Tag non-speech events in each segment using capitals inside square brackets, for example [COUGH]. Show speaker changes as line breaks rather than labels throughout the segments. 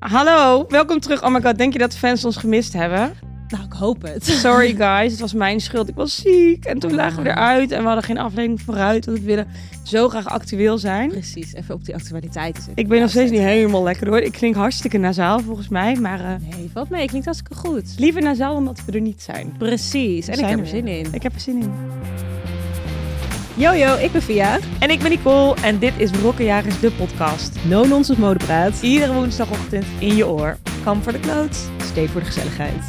Hallo, welkom terug. Oh my god, denk je dat de fans ons gemist hebben?
Nou, ik hoop het. [LAUGHS]
Sorry guys, het was mijn schuld. Ik was ziek en toen lagen we eruit en we hadden geen aflevering vooruit. Want we willen zo graag actueel zijn.
Precies, even op die actualiteit zitten.
Ik ben nog steeds niet helemaal lekker hoor. Ik klink hartstikke nasaal volgens mij, maar eh,
Nee, valt mee. Klinkt hartstikke goed.
liever nasaal dan dat we er niet zijn.
Precies, en ik
zijn
heb
er
er zin in.
Ik heb er zin in.
Yo, yo, ik ben Via.
En ik ben Nicole en dit is Brokkenjagers, de podcast.
No Nonsense Modepraat.
Iedere woensdagochtend in je oor. Kam voor de knoot.
Steef voor de gezelligheid.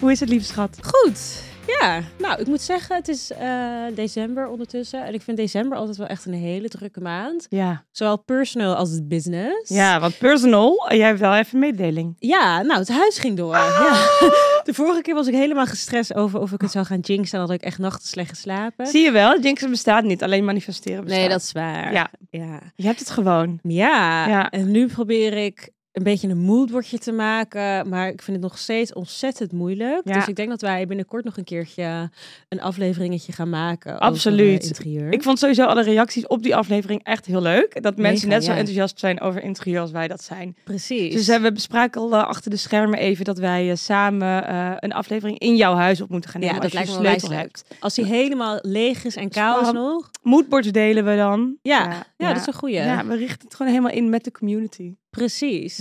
Hoe is het, lieve schat?
Goed. Ja, nou, ik moet zeggen, het is eh, december ondertussen. En ik vind december altijd wel echt een hele drukke maand.
Ja.
Zowel personal als business.
Ja, want personal, eh, jij hebt wel even een mededeling.
Ja, nou, het huis ging door. Ja. [LAUGHS] De vorige keer was ik helemaal gestrest over of ik het zou gaan jinxen. En had ik echt nachten slecht geslapen.
Zie je wel, Jinxen bestaat niet, alleen manifesteren bestaat.
nee, dat is waar.
Ja.
ja.
Je hebt het gewoon.
Ja,
Ja.
en nu probeer ik een beetje een moodboardje te maken. Maar ik vind het nog steeds ontzettend moeilijk.
Ja.
Dus ik denk dat wij binnenkort nog een keertje een afleveringetje gaan maken. Over,
Absoluut.
eh, interieur.
Ik vond sowieso alle reacties op die aflevering echt heel leuk. Dat mensen
Mega,
net zo
ja.
enthousiast zijn over interieur als wij dat zijn.
Precies.
Dus eh, we bespraken al eh, achter de schermen even dat wij eh, samen eh, een aflevering in jouw huis op moeten gaan
Ja,
nemen. als
dat lijkt
je
me
een
wel
sleutel
wijs leuk.
hebt.
Als hij helemaal leeg is en kaal is
Spam.
nog.
Moodboards delen we dan.
Ja, ja, dat is een goeie.
Ja, we richten het gewoon helemaal in met de community.
Precies.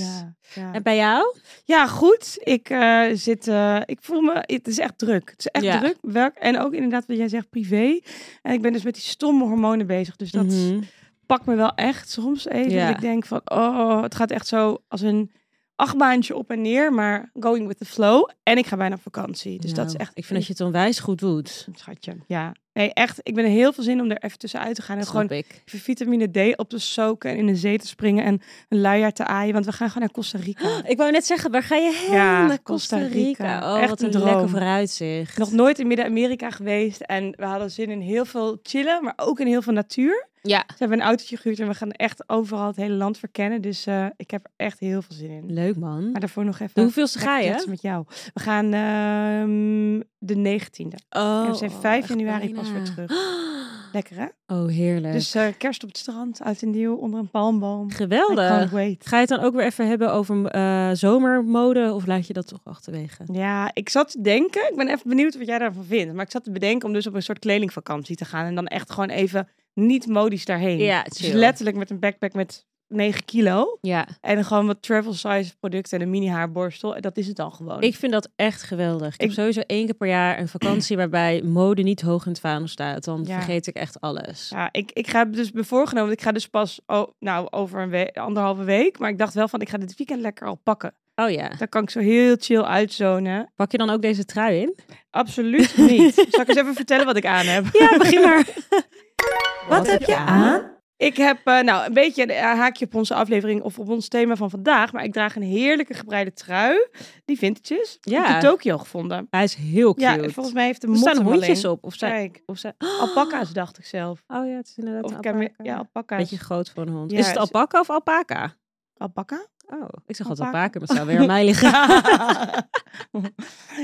ja.
En bij jou?
Ja, goed. Ik eh, zit. eh, ik voel me. Het is echt druk. Het is echt
Ja.
druk. Werk en ook inderdaad wat jij zegt privé. En ik ben dus met die stomme hormonen bezig. Dus dat
Mhm.
pakt me wel echt soms even.
Ja.
Dat ik denk van, oh, het gaat echt zo als een achtbaantje op en neer, maar going with the flow. En ik ga bijna op vakantie. Dus dat
Nou,
is echt.
Ik vind dat je het onwijs goed doet.
schatje. Ja. Nee, echt. Ik ben er heel veel zin om er even tussenuit te gaan en
Dat
gewoon
gewoon ik.
even vitamine D op te soken en in de zee te springen en een luiaard te aaien, want we gaan gewoon naar Costa Rica.
Ik wou net zeggen, waar ga je heen?
Ja,
Naar
Costa
Costa
Rica.
Rica. Oh,
Echt
wat
een
een,
droom.
lekker vooruitzicht.
Nog nooit in Midden-Amerika geweest en we hadden zin in heel veel chillen, maar ook in heel veel natuur.
Ja.
Ze hebben een autootje gehuurd en we gaan echt overal het hele land verkennen. Dus eh, ik heb er echt heel veel zin in.
Leuk man.
Maar daarvoor nog even.
De hoeveelste ga je?
kletsen Met jou. We gaan ehm, de 19e.
Oh,
en we zijn
oh,
5
echt
januari pas weer
bijna.
terug. Lekker hè?
[GASPS] Oh, heerlijk.
Dus eh, kerst op het strand, uit en nieuw, onder een palmboom. I can't
Geweldig.
wait.
Ga je het dan ook weer even hebben over eh, zomermode of laat je dat toch achterwege?
Ja, ik zat te denken. Ik ben even benieuwd wat jij daarvan vindt. Maar ik zat te bedenken om dus op een soort kledingvakantie te gaan. En dan echt gewoon even niet modisch daarheen.
Ja,
dus
chill.
letterlijk met een backpack met 9 kilo.
Ja,
En gewoon wat travel size producten en een mini haarborstel. En dat is het dan gewoon.
ik vind dat echt geweldig. Ik, heb
Ik-
sowieso één keer per jaar een
[CLEARS THROAT]
vakantie waarbij mode niet hoog in het vaandel staat. Dan
Ja.
vergeet ik echt alles.
Ja, ik, ik ga dus bevoorgenomen. Ik ga dus pas oh, nou, over een we- anderhalve week. Maar ik dacht wel van, ik ga dit weekend lekker al pakken.
Oh ja,
Dan kan ik zo heel chill uitzonen.
pak je dan ook deze trui in?
Absoluut niet. Zal ik eens even vertellen wat ik aan heb?
Ja, begin [LAUGHS] maar.
Wat heb je aan? [LAUGHS] Ik heb eh, nou een beetje een haakje op onze aflevering of op ons thema van vandaag. Maar ik draag een heerlijke gebreide trui. Die vintage is.
Ja.
Ja. In Tokio gevonden.
Hij is heel
Ja,
cute.
volgens mij heeft de
er
mot
staan
hem
hondjes
alleen.
op. Of zijn,
Kijk,
of zijn,
alpaca's dacht ik zelf.
Oh ja, het is inderdaad
Of
een
ik heb me-
alpaca.
ja, alpaca's.
Beetje groot voor een hond.
Ja,
is het
het is-
alpaca of alpaca?
alpaca?
Oh, ik zag altijd
Alpaca.
alpaca, maar het zou
[LAUGHS]
weer aan mij liggen.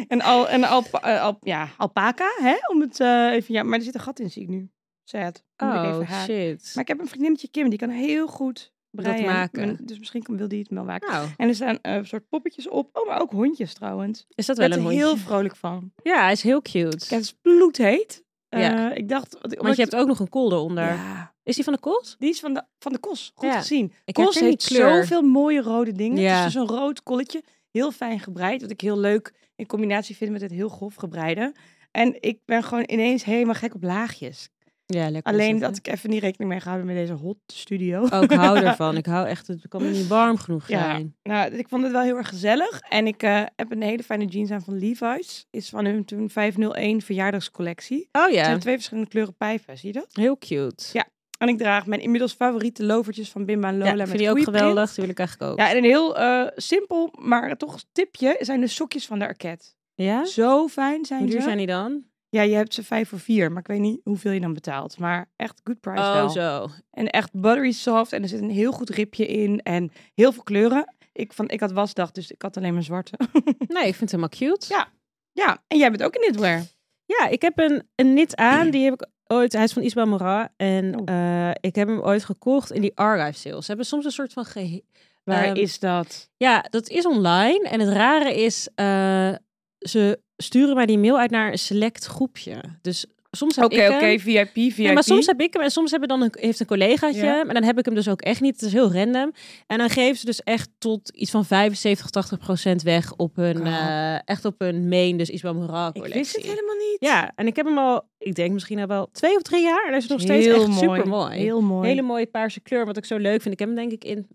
en al, en alpa, eh, al, ja, alpaca, hè? Om het eh, even, ja, maar er zit een gat in, zie ik nu. Sad. Moet ik even
[LAUGHS] Oh,
haken.
shit.
Maar ik heb een vriendinnetje Kim, die kan heel goed breien.
maken.
En- Dus misschien kan- wil die het wel maken.
Nou,
En er staan eh soort poppetjes op. Oh, maar ook hondjes trouwens.
is dat
Daar
wel
ben
een
ik
hondje?
heel vrolijk van.
Ja, hij is heel cute.
Kijk, het is bloedheet. Eh,
Ja.
Ik dacht... omdat
Want je
ik-
hebt ook nog een kool eronder.
Ja,
Is die van de kools?
die is van de, van de kos. Goed
Ja.
gezien.
Ik
Kos
herken die
heeft zoveel mooie rode dingen.
Ja.
Het is dus een rood kolletje. Heel fijn gebreid. Wat ik heel leuk in combinatie vind met het heel grof gebreide. En ik ben gewoon ineens helemaal gek op laagjes.
Ja, lekker.
Alleen
is
dat ik even niet rekening mee gehouden met deze hot studio. [LAUGHS]
hè? Oh, ik hou ervan. Ik hou echt, het kan me niet warm genoeg
Ja.
zijn.
Nou, ik vond het wel heel erg gezellig. En ik eh, heb een hele fijne jeans aan van Levi's. Is van hun toen 501 verjaardagscollectie.
Oh
Het
ja,
zijn twee verschillende kleuren pijpen, zie je dat?
heel cute.
Ja. En ik draag mijn inmiddels favoriete lovertjes van Bimba en Lola.
Ja, ik
met
vind die ook
koeienprint.
geweldig. Die wil ik eigenlijk ook.
Ja, en een heel eh, simpel, maar toch tipje zijn de sokjes van de Arket.
Ja?
Zo fijn
Hoe
zijn ze.
duur zijn die dan?
Ja, je hebt ze vijf voor vier, maar ik weet niet hoeveel je dan betaalt. Maar echt good price wel.
Oh, zo.
En echt buttery soft en er zit een heel goed ribje in en heel veel kleuren. Ik, van, ik had wasdag, dus ik had alleen maar zwarte. [LAUGHS]
Nee, ik vind hem helemaal cute.
Ja. Ja, en jij bent ook in knitwear.
Ja, ik heb een, een knit aan. Die heb ik ooit. Hij is van Isabel Morat. En
Oh.
eh, ik heb hem ooit gekocht in die archive sales. Ze hebben soms een soort van gehe-
Waar
Ehm,
is dat?
Ja, dat is online. En het rare is, eh, ze sturen mij die mail uit naar een select groepje. Dus soms heb
Oké,
ik
oké,
hem.
VIP, VIP.
Nee, maar soms heb ik hem en soms hebben dan een, heeft een collegaatje
Ja.
hem. En dan heb ik hem dus ook echt niet. Het is heel random. En dan geven ze dus echt tot iets van 75, 80 procent weg op hun,
God.
eh, echt op hun main, dus Isabel Morat
ik
collectie.
wist het helemaal niet.
Ja, en ik heb hem al, ik denk misschien al wel twee of drie jaar. En hij is nog steeds
Heel
echt
mooi.
super mooi.
Heel mooi.
Hele mooie paarse kleur, wat ik zo leuk vind. Ik heb hem denk ik in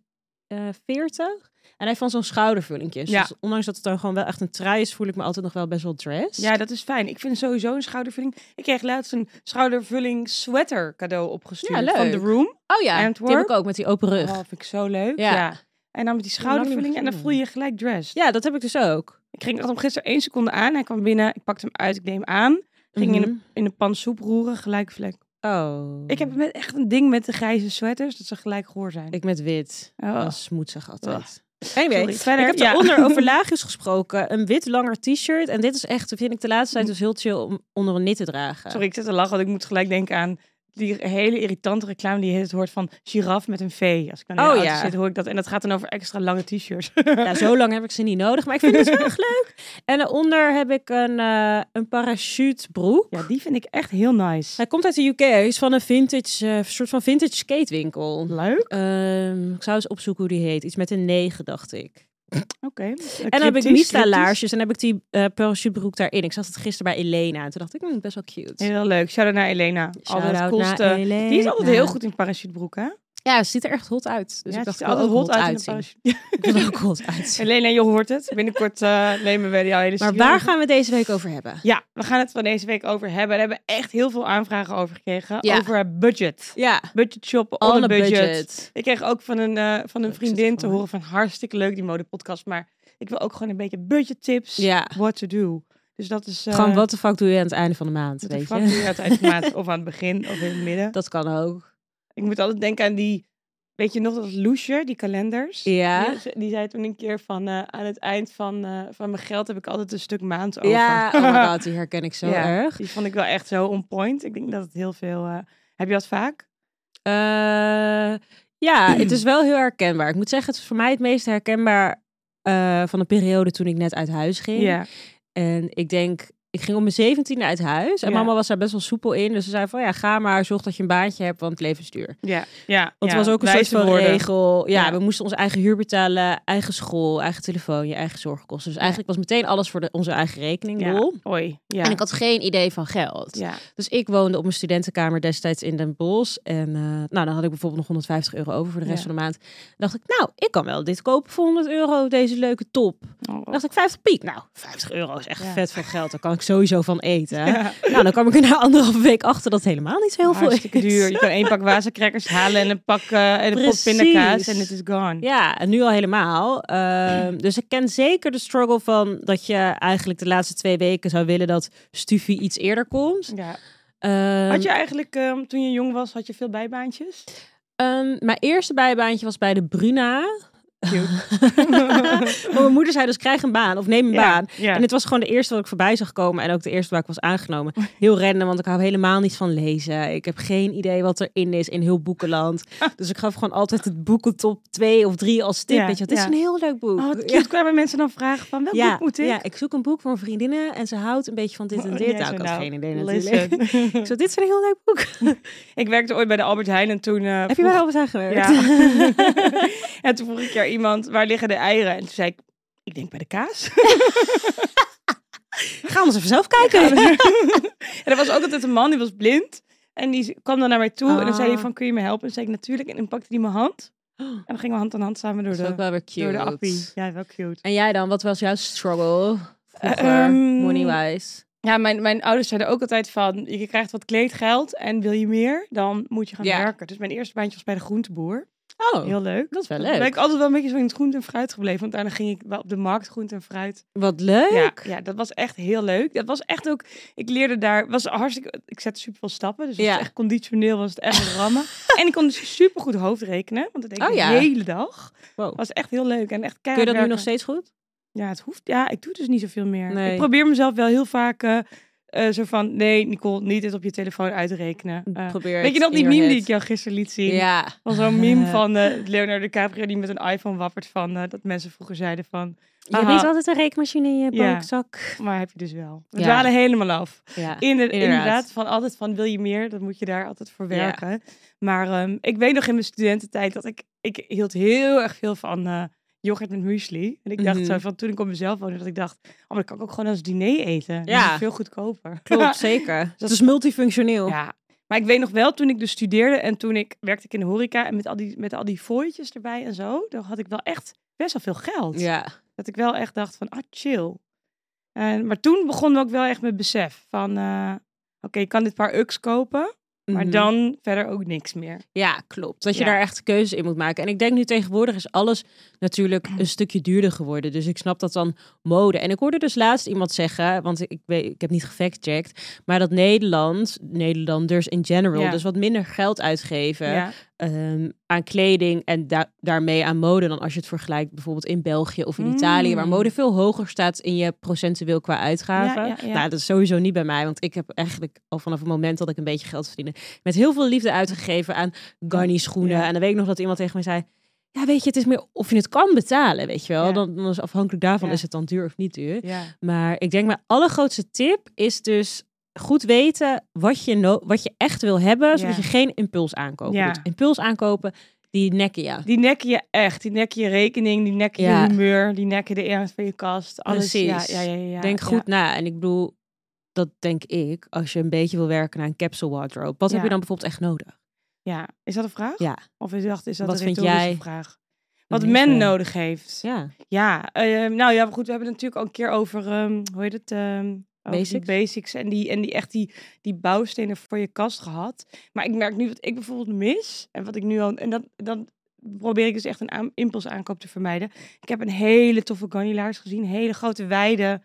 eh 40. En hij van zo'n schoudervullingjes.
Ja.
Dus ondanks dat het dan gewoon wel echt een trui is, voel ik me altijd nog wel best wel dress.
Ja, dat is fijn. Ik vind sowieso een schoudervulling. Ik kreeg laatst een schoudervulling sweater cadeau opgestuurd
Ja,
van
leuk.
The Room.
oh ja, die heb
Antwerp.
ik ook met die open rug.
Oh, vind ik zo leuk. Ja.
Ja.
En dan met die
heb hem lang niet meer
schoudervulling en dan
gezien,
voel je je gelijk dressed.
Ja, dat heb ik dus ook.
Ik ging had hem gisteren één seconde aan. Hij kwam binnen, ik pakte hem uit, ik deed hem aan. Ging in, de,
Mhm.
in de pan soep roeren, gelijk vlek.
Oh.
Ik heb met- echt een ding met de grijze sweaters, dat ze gelijk goor zijn.
Ik met wit.
Oh.
Dat is smoetsig altijd.
Sorry,
Anyway,
verder,
Oh. ik heb
ja. [LAUGHS]
daaronder [LAUGHS] over laagjes gesproken. Een wit langer t-shirt. En dit is echt, vind ik de laatste tijd dus heel chill om onder een knit te dragen.
Sorry, ik zit te lachen, want ik moet gelijk denken aan die hele irritante reclame die je het hoort van giraf met een V. Als ik dan in de
Oh,
auto
ja.
zit, hoor ik dat. En dat gaat dan over extra lange
[LAUGHS]
t-shirts.
Ja, Nou, zo lang heb ik ze niet nodig, maar ik vind het wel echt leuk. En daaronder heb ik een, eh een parachutebroek.
ja, die vind ik echt heel nice.
Hij komt uit de UK. Hij is van een vintage, eh, soort van vintage skatewinkel.
Leuk.
Ehm, ik zou eens opzoeken hoe die heet. Iets met een 9, dacht ik.
Oké. En
En dan heb ik Mista laarsjes en dan heb ik die eh parachutebroek daarin. Ik zag het gisteren bij Elena en toen dacht ik, hm, best wel cute.
Heel leuk. Shout-out naar Elena. altijd het
Shout-out
coolste.
naar
Die is altijd
Elena.
heel goed in parachutebroek, hè?
Ja, ze ziet er echt hot uit. Dus
Ja,
ik
ze
dacht,
ziet
ik
er
wil
altijd
ook
hot uit in een
uitzien.
parachute. [LAUGHS]
Ik wil ook hot uitzien.
Elena, je hoort het. Binnenkort eh, nemen we die hele
Maar
serie
waar
over.
gaan we deze week over hebben?
Ja, we gaan het van deze week over hebben. Daar hebben we echt heel veel aanvragen over gekregen.
Ja.
Over budget.
Ja,
Budget shoppen, on, a budget. Ik kreeg ook van een, eh, van een
Ik zit
vriendin te
gewoon-
horen van hartstikke leuk die modepodcast. Maar ik wil ook gewoon een beetje budget tips.
Ja.
What to do. Dus dat is... eh,
Gewoon, wat de fuck doe je aan het einde van de maand,
wat de
weet
fuck
je?
doe je aan het eind van de maand? Of aan het begin of in het midden.
[LAUGHS] Dat kan ook.
Ik moet altijd denken aan die... Weet je nog dat loesje, die kalenders?
Ja.
Die, die zei toen een keer van eh, aan het eind van, eh, van mijn geld heb ik altijd een stuk maand over.
Ja,
[LAUGHS]
oh my god, die herken ik zo
Ja,
erg.
Die vond ik wel echt zo on point. Ik denk dat het heel veel. eh, Heb je dat vaak?
Eh, ja, het is wel heel herkenbaar. Ik moet zeggen, het is voor mij het meest herkenbaar eh, van de periode toen ik net uit huis ging. En ik denk, ik ging om mijn zeventiende uit huis. En
Ja.
mama was daar best wel soepel in. Dus ze zei van, ja, ga maar, zorg dat je een baantje hebt, want het leven is duur.
ja, ja.
Want
ja.
het was ook een
Wijze
soort van
woorden.
regel. Ja,
Ja.
we moesten onze eigen huur betalen, eigen school, eigen telefoon, je eigen zorgkosten. Dus eigenlijk was meteen alles voor de, onze eigen rekening.
Ja.
lol.
Oei. Ja.
En ik had geen idee van geld.
ja.
Dus ik woonde op mijn studentenkamer destijds in Den Bosch. En eh, nou, dan had ik bijvoorbeeld nog 150 euro over voor de rest
Ja.
van de maand. Dan dacht ik, nou, ik kan wel dit kopen voor 100 euro, deze leuke top. Dan
Oh,
dacht ik, 50 piek. Nou, 50 euro is echt
Ja.
vet veel geld. Daar kan ik sowieso van eten. [LAUGHS] hè.
Ja.
Nou, dan kwam ik er na anderhalve week achter dat het helemaal niet zo heel veel
Hartstikke
is. [LAUGHS]
duur. Je kan één pak wazencrackers halen en een pak eh, en een pot
Precies.
pindakaas en het is gone.
Ja, en nu al helemaal. Ehm, dus ik ken zeker de struggle van dat je eigenlijk de laatste twee weken zou willen dat Stufie iets eerder komt.
Ja.
Ehm,
Had je eigenlijk, ehm, toen je jong was, had je veel bijbaantjes?
ehm, mijn eerste bijbaantje was bij de Bruna.
Cute.
maar mijn moeder zei dus krijg een baan of neem een
Ja,
baan.
ja.
En het was gewoon de eerste wat ik voorbij zag komen en ook de eerste waar ik was aangenomen. Heel random, want ik hou helemaal niet van lezen. Ik heb geen idee wat erin is in heel
[LAUGHS]
boekenland. Dus ik gaf gewoon altijd het boekentop 2 of 3 als tip.
Ja,
Weet je, het is
ja.
een heel leuk boek.
[LAUGHS] Oh, wat cute.
Ja.
Kwamen mensen dan vragen van, welk boek moet ik?
ja, ik zoek een boek voor een vriendinnen en ze houdt een beetje van dit en
Oh,
dit.
jij
Nou,
zo,
ik had
nou,
geen idee natuurlijk.
listen. [LAUGHS]
Ik zo, dit is een heel leuk boek.
ik werkte ooit bij de Albert Heijn en toen... eh,
Heb je
vroeg-
wel eens aan gewerkt?
Ja. [LAUGHS] en toen vroeg ik aan iemand, waar liggen de eieren? En toen zei ik, ik denk bij de kaas.
[LAUGHS] Gaan we eens even zelf kijken.
[LAUGHS] en er was ook altijd een man, die was blind. En die kwam dan naar mij toe en dan zei hij
Ah. Oh.
van, kun je me helpen? En zei ik, natuurlijk. En dan pakte hij mijn hand. En dan gingen we hand aan hand samen door
Dat is ook
de,
wel weer
door de appie.
cute.
Ja, wel cute.
En jij dan, wat was jouw struggle vroeger,
Eh, ehm,
money-wise?
Ja, mijn, mijn ouders zeiden ook altijd van, je krijgt wat kleedgeld en wil je meer, dan moet je gaan
Ja.
werken. Dus mijn eerste baantje was bij de groenteboer.
Oh,
Heel leuk.
dat is wel
Ben
leuk.
ik altijd wel een beetje zo in het groente en fruit gebleven. Want daarna ging ik wel op de markt groente en fruit.
Wat leuk.
Ja, ja, dat was echt heel leuk. Dat was echt ook... Ik leerde daar... Was hartstikke, ik zette super veel stappen. Dus het was
Ja.
echt conditioneel was het echt een
[LAUGHS]
rammen. en ik kon dus super goed hoofdrekenen. Want dat deed ik
Oh
de
ja.
hele dag.
Wow.
was echt heel leuk. En echt
Kun je
keihard
dat nu
werken.
nog steeds goed?
Ja, het hoeft. Ja, ik doe dus niet zoveel meer.
Nee.
Ik probeer mezelf wel heel vaak eh, eh, zo van... Nee, Nicole, niet dit op je telefoon uitrekenen. Eh,
Probeer
weet je
het
nog die
in
meme
your
die ik
head.
jou gisteren liet zien?
Ja.
Van zo'n meme
[LAUGHS] Eh.
van eh, Leonardo DiCaprio die met een iPhone wappert van eh, dat mensen vroeger zeiden van,
Je
Aha.
weet altijd een rekenmachine in je
Ja.
broekzak.
maar heb je dus wel. We
Ja.
dwalen helemaal af.
Ja.
Inder-
inderdaad.
inderdaad. van altijd van wil je meer, dan moet je daar altijd voor
Ja.
werken. Maar ehm, ik weet nog in mijn studententijd dat ik, ik hield heel erg veel van eh, yoghurt met muesli. En ik dacht
Mhm.
zo van toen ik op mezelf woonde, dat ik dacht, oh maar dat kan ik ook gewoon als diner eten. Dat
Ja.
is veel goedkoper. [LAUGHS]
Klopt, zeker. Het is multifunctioneel.
Ja, maar ik weet nog wel, toen ik dus studeerde en toen ik werkte ik in de horeca en met al die, met al die fooitjes erbij en zo, dan had ik wel echt best wel veel geld.
Ja.
Dat ik wel echt dacht van, ah, chill. En, maar toen begon ook wel echt met besef van, eh, oké, ik kan dit paar uks kopen, maar
Mhm.
dan verder ook niks meer.
Ja, klopt. Dat je
Ja.
daar echt keuzes in moet maken. En ik denk nu tegenwoordig is alles natuurlijk
Mm.
een stukje duurder geworden. Dus ik snap dat dan mode. En ik hoorde dus laatst iemand zeggen, want ik, weet, ik heb niet gefactcheckt, maar dat Nederland, Nederlanders in general,
Ja.
dus wat minder geld uitgeven
Ja,
ehm, aan kleding en da- daarmee aan mode dan als je het vergelijkt bijvoorbeeld in België of in
Mm.
Italië, waar mode veel hoger staat in je procentueel qua uitgaven.
Ja, ja, ja.
Nou, dat is sowieso niet bij mij, want ik heb eigenlijk al vanaf het moment dat ik een beetje geld verdiende, met heel veel liefde uitgegeven aan Garni schoenen.
Ja.
En dan weet ik nog dat iemand tegen mij zei, ja weet je, het is meer of je het kan betalen, weet je wel.
Ja.
Dan, dan is afhankelijk daarvan
Ja.
is het dan duur of niet duur.
ja.
Maar ik denk mijn allergrootste tip is dus goed weten wat je, no- wat je echt wil hebben, zodat
Ja.
je geen impuls aankopen
Ja.
doet. Impuls aankopen, die nekken je.
Die nekken je echt, die nekken je rekening, die nekken
Ja.
je humeur, die nekken de ernst van je kast, alles.
Precies.
Ja, ja, ja, ja,
denk
ja.
goed na. En ik bedoel, dat denk ik, als je een beetje wil werken naar een capsule wardrobe. Wat heb
Ja.
je dan bijvoorbeeld echt nodig?
Ja, is dat een vraag?
Ja.
Of is dat, is dat
Wat
een
vind
retorische
jij-
vraag? Wat
Nee,
men
zo.
nodig heeft. Ja,
Ja,
eh, nou ja, maar goed, we hebben het natuurlijk al een keer over, ehm, hoe heet het? ehm, over die
Basics.
basics en, die, en die, echt die, die bouwstenen voor je kast gehad. Maar ik merk nu wat ik bijvoorbeeld mis en wat ik nu al... En dat, dan probeer ik dus echt een aan, impulsaankoop te vermijden. Ik heb een hele toffe Garni laars gezien. Hele grote wijde,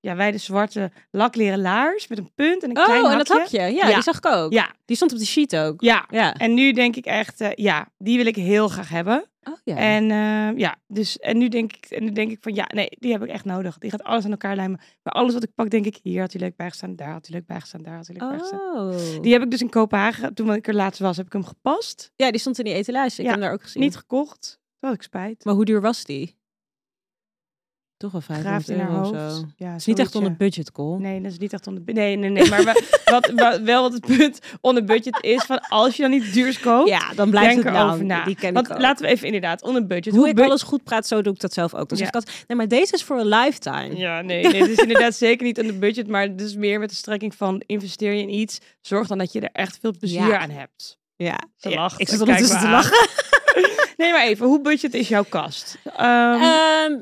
ja, wijde zwarte lakleren laars met een punt en een klein
oh, en
hakje.
dat hapje. Ja,
Ja.
die zag ik ook.
Ja,
Die stond op de sheet ook.
ja.
Ja.
En nu denk ik echt, eh, ja, die wil ik heel graag hebben.
Oh, ja.
En eh, ja, dus en nu denk ik, en nu denk ik van ja, nee, die heb ik echt nodig. Die gaat alles aan elkaar lijmen. Maar alles wat ik pak, denk ik, hier had hij leuk bij gestaan, daar had hij leuk bij gestaan, daar had hij leuk bij gestaan.
oh.
Die heb ik dus in Kopenhagen, toen ik er laatst was, heb ik hem gepast,
Ja, die stond in die etalage. Ik
Ja,
heb hem daar ook gezien.
niet gekocht. Dat had ik spijt.
Maar hoe duur was die? Toch wel
Graaf
500
in haar
euro of
hoofd.
zo.
Ja,
Het is niet echt onder
zoiets,
budget, Col.
ja. Nee, dat is niet echt onder. Nee, nee, nee. Maar
[LAUGHS]
wa- wat, wa- wel wat het punt onder budget is van als je dan niet duurs koopt,
Ja, dan blijft
denk
het nou.
erover na.
Die ken
Want
ik ook. Dus
laten we even inderdaad onder budget.
Hoe
Hoe
ik
bu-
alles goed praat, zo doe ik dat zelf ook. Dan
Ja.
zeg ik altijd, nee, maar deze is voor een lifetime.
Ja, nee, nee, het is inderdaad [LAUGHS] zeker niet aan de budget, maar het is meer met de strekking van investeer je in iets, zorg dan dat je er echt veel plezier
Ja.
aan hebt.
Ja.
Ze
Ja,
lacht,
Ik zit
ik kijk
ondertussen te
me aan.
lachen.
Nee, maar even, hoe budget is jouw kast? Ehm,
Ehm,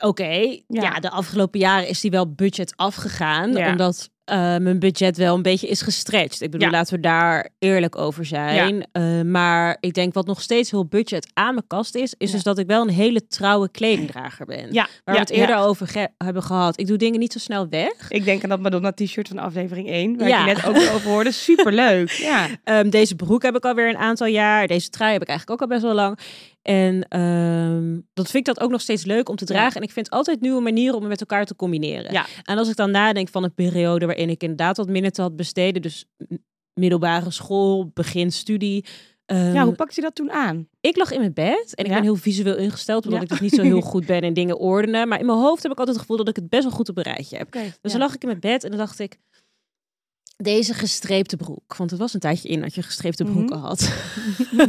Oké, ja.
Ja.
de afgelopen jaren is die wel budget afgegaan,
Ja.
omdat eh, mijn budget wel een beetje is gestretched. Ik bedoel,
Ja.
laten we daar eerlijk over zijn. Eh, maar ik denk wat nog steeds heel budget aan mijn kast is, is
Ja.
dus dat ik wel een hele trouwe kledingdrager ben.
ja,
Waar
ja,
we het eerder
ja.
over ge- hebben gehad. Ik doe dingen niet zo snel weg.
Ik denk aan dat Madonna t-shirt van aflevering 1, waar
Ja.
ik je net ook weer over hoorde. Superleuk.
[LAUGHS]
Ja.
Ehm, deze broek heb ik alweer een aantal jaar. Deze trui heb ik eigenlijk ook al best wel lang. En ehm, dat vind ik dat ook nog steeds leuk om te
Ja.
dragen. En ik vind altijd nieuwe manieren om het met elkaar te combineren.
Ja.
En als ik dan nadenk van een periode waarin ik inderdaad wat minder te had besteden. Dus m- middelbare school, begin studie. ehm,
ja, hoe pakt je dat toen aan?
ik lag in mijn bed en ik
Ja.
ben heel visueel ingesteld. Omdat
Ja.
ik dus niet zo
[LAUGHS]
heel goed ben in dingen ordenen. Maar in mijn hoofd heb ik altijd het gevoel dat ik het best wel goed op een rijtje heb.
Oké.
Dus dan lag ik in mijn bed en dan dacht ik... Deze gestreepte broek. Want het was een tijdje in dat je gestreepte
Mhm.
broeken had. [LAUGHS]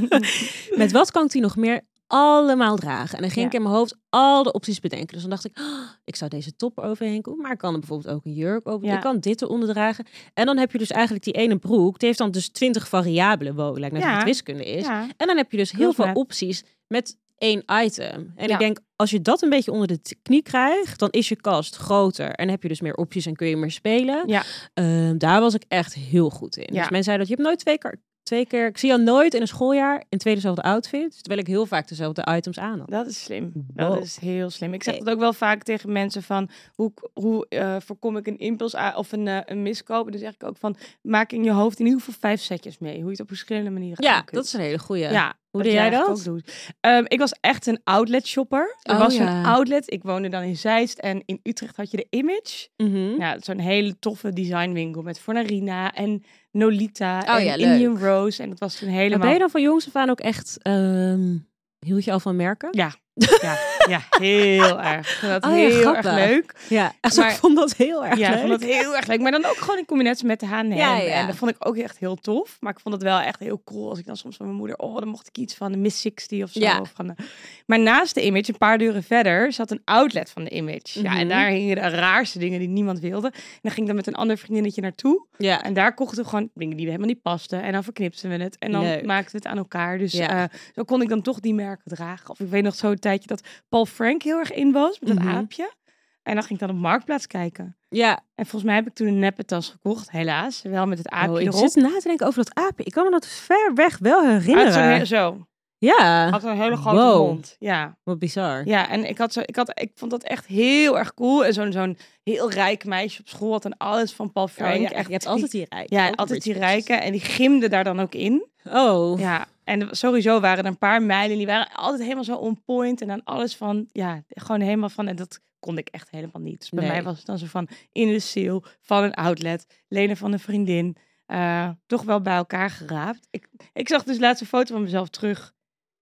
Met wat kan ik die nog meer allemaal dragen? En dan ging
Ja.
ik in mijn hoofd al de opties bedenken. Dus dan dacht ik, "Oh, ik zou deze top er overheen doen. Maar ik kan er bijvoorbeeld ook een jurk over. doen.
Ja.
Ik kan dit eronder dragen. En dan heb je dus eigenlijk die ene broek. Die heeft dan dus twintig variabelen. Wow, lijkt net
Ja.
wat wiskunde is.
ja.
En dan heb je dus heel
Klopt,
veel
maar-
opties met één item. En
Ja.
ik denk, als je dat een beetje onder de t- knie krijgt, dan is je kast groter. En heb je dus meer opties en kun je meer spelen.
Ja.
Ehm, daar was ik echt heel goed in.
Ja.
Dus mensen zeiden dat je hebt nooit twee keer, twee keer... Ik zie jou nooit in een schooljaar in twee dezelfde outfits. Terwijl ik heel vaak dezelfde items aan had.
Dat is slim.
Wow.
Dat is heel slim. Ik zeg dat ook wel vaak tegen mensen van hoe, hoe eh, voorkom ik een impuls a- of een, eh, een miskoop. En dan zeg ik ook van maak in je hoofd in ieder geval vijf setjes mee. Hoe je het op verschillende manieren
Ja,
aan kunt.
dat is een hele goeie.
Ja,
Hoe deed jij
eigenlijk
dat?
ook doet. Ehm, ik was echt een outlet shopper. Er
Oh,
was
ja.
een outlet. Ik woonde dan in Zeist en in Utrecht had je de Image.
Mhm.
Ja, zo'n hele toffe designwinkel met Fornarina en Nolita
Oh
en
ja, leuk.
Indian Rose. En dat was toen helemaal...
Maar ben je dan van jongs af aan ook echt... ehm, hield je al van merken?
Ja, ja, [LAUGHS] ja, heel erg. Ik vond dat
Oh ja,
heel
grappig.
erg leuk.
Ja, [LAUGHS] echt,
Maar-
ik vond dat heel erg
Ja, ik
leuk.
vond dat heel erg leuk. Maar dan ook gewoon in combinatie met de H&M.
Ja, ja.
En dat vond ik ook echt heel tof. Maar ik vond het wel echt heel cool als ik dan soms van mijn moeder... Oh, dan mocht ik iets van de Miss 60 of zo.
Ja.
Of van de... Maar naast de Image, een paar deuren verder, zat een outlet van de Image. Ja, en
Mhm.
daar hingen de raarste dingen die niemand wilde. En dan ging ik dan met een ander vriendinnetje naartoe.
Ja.
En daar kochten we gewoon dingen die helemaal niet pasten. En dan verknipten we het. En dan
Leuk.
maakten we het aan elkaar. Dus
Ja.
eh, zo kon ik dan toch die merken dragen. Of ik weet nog zo'n tijdje dat Paul Frank heel erg in was. Met dat
Mhm.
aapje. En dan ging ik dan op Marktplaats kijken.
ja.
En volgens mij heb ik toen een neppe tas gekocht. Helaas. Wel met het aapje
Oh, ik
erop. Ah,
zit na te denken over dat aapje. Ik kan me dat dus ver weg wel
Uit zo'n
herinneren.
he- zo.
Ja, Oh,
Had een hele grote
Ah, Wow.
mond. Ja.
wat bizar.
Ja, en ik, had zo, ik, had, ik vond dat echt heel erg cool. En zo'n zo'n heel rijk meisje op school had dan alles van Paul Frank.
Oh, ja.
Echt
je hebt
die-
altijd die rijken.
Ja,
Ook
altijd die
rich
rijken. En die gimden daar dan ook in.
bitches. Oh,
Ja, en sowieso waren er een paar meiden die waren altijd helemaal zo on point en dan alles van, ja, gewoon helemaal van, en dat kon ik echt helemaal niet. Dus bij
Nee.
mij was het dan zo van in de sale van een outlet, lenen van een vriendin, eh, toch wel bij elkaar geraapt. Ik, ik zag dus laatst een foto van mezelf terug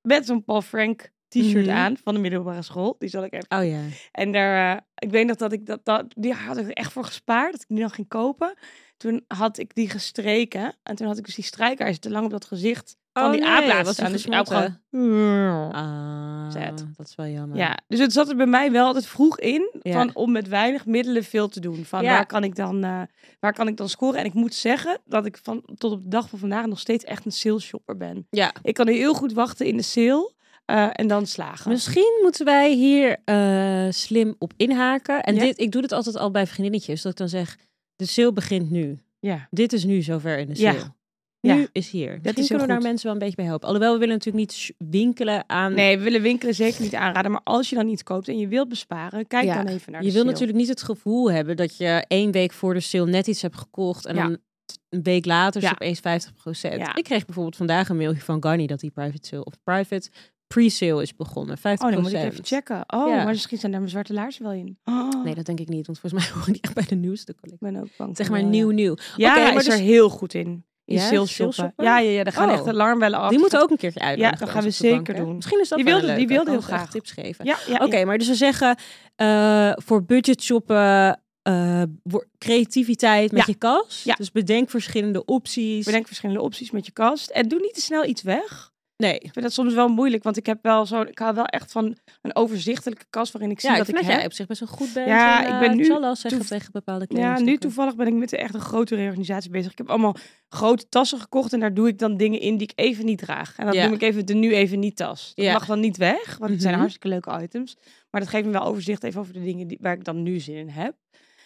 met zo'n Paul Frank t-shirt
Mhm.
aan van de middelbare school. Die zal ik even.
oh ja.
En daar, eh, ik weet nog dat ik dat, dat, die had ik echt voor gespaard, dat ik die dan ging kopen. Toen had ik die gestreken en toen had ik dus die strijkers te lang op dat gezicht van
Oh
die
nee,
aap laten
was die
staan. Dus die aap
versmolten?
gewoon-
Ah,
Zet.
dat is wel jammer.
Ja, dus het zat er bij mij wel altijd vroeg in
Ja.
van om met weinig middelen veel te doen. Van
Ja.
waar, kan ik dan, eh, waar kan ik dan scoren? En ik moet zeggen dat ik van, tot op de dag van vandaag nog steeds echt een sales shopper ben.
Ja.
Ik kan heel goed wachten in de sale eh, en dan slagen.
Misschien moeten wij hier eh, slim op inhaken. En
Ja.
dit, ik doe dit altijd al bij vriendinnetjes, dat ik dan zeg, de sale begint nu.
ja.
Dit is nu zover in de
Ja.
sale.
Ja.
Nu is hier. Misschien
is heel
kunnen we daar
goed.
mensen wel een beetje bij helpen. Alhoewel, we willen natuurlijk niet sh- winkelen aan...
Nee, we willen winkelen zeker niet aanraden. Maar als je dan iets koopt en je wilt besparen, kijk
Ja.
dan even naar de
Je wil
sale.
natuurlijk niet het gevoel hebben dat je één week voor de sale net iets hebt gekocht en
Ja.
dan t- een week later is
Ja.
het opeens 50%.
Ja.
Ik kreeg bijvoorbeeld vandaag een mailtje van Garni dat die private sale of private pre-sale is begonnen. 50%.
Oh, dan moet ik even checken. Oh,
Ja.
maar misschien zijn daar mijn zwarte laarzen wel in. Oh,
Nee, dat denk ik niet, want volgens mij [LAUGHS] horen die echt bij de nieuwste collectie.
ik ben ook bang.
Zeg
voor
maar
wel, ja.
nieuw, nieuw.
Ja,
Oké,
hij
maar
is er
dus-
heel goed in. In
Ja,
sales
sales
shoppen.
shoppen?
Ja, ja, ja, daar gaan
Oh.
echt alarmbellen af.
Die moeten we ook een keertje uitleggen.
dat gaan we zeker doen.
Misschien is dat
Die
wel
wilde-
een
die
leuke,
wilde
kan
heel
ons
graag.
echt tips geven.
Ja, ja,
Oké,
ja.
maar dus ze zeggen eh, voor budget shoppen eh, wo- creativiteit met
Ja.
je kast.
Ja.
Dus bedenk verschillende opties.
Bedenk verschillende opties met je kast. En doe niet te snel iets weg.
Nee.
Ik vind dat soms wel moeilijk, want ik heb wel zo, ik hou wel echt van een overzichtelijke kast waarin ik zie
Ja, ik
dat
vind
ik
dat jij
heb.
op zich best wel goed bent.
Ja,
in,
ik
eh,
ben nu
tjallas zeggen
toev-
tegen bepaalde
Ja, nu
kledingstukken.
toevallig ben ik met echt een grote reorganisatie bezig. Ik heb allemaal grote tassen gekocht en daar doe ik dan dingen in die ik even niet draag. En dat
Ja.
noem ik even de nu even niet tas. Dat
Ja.
mag dan niet weg, want het zijn
Mhm.
hartstikke leuke items. Maar dat geeft me wel overzicht even over de dingen die, waar ik dan nu zin in heb.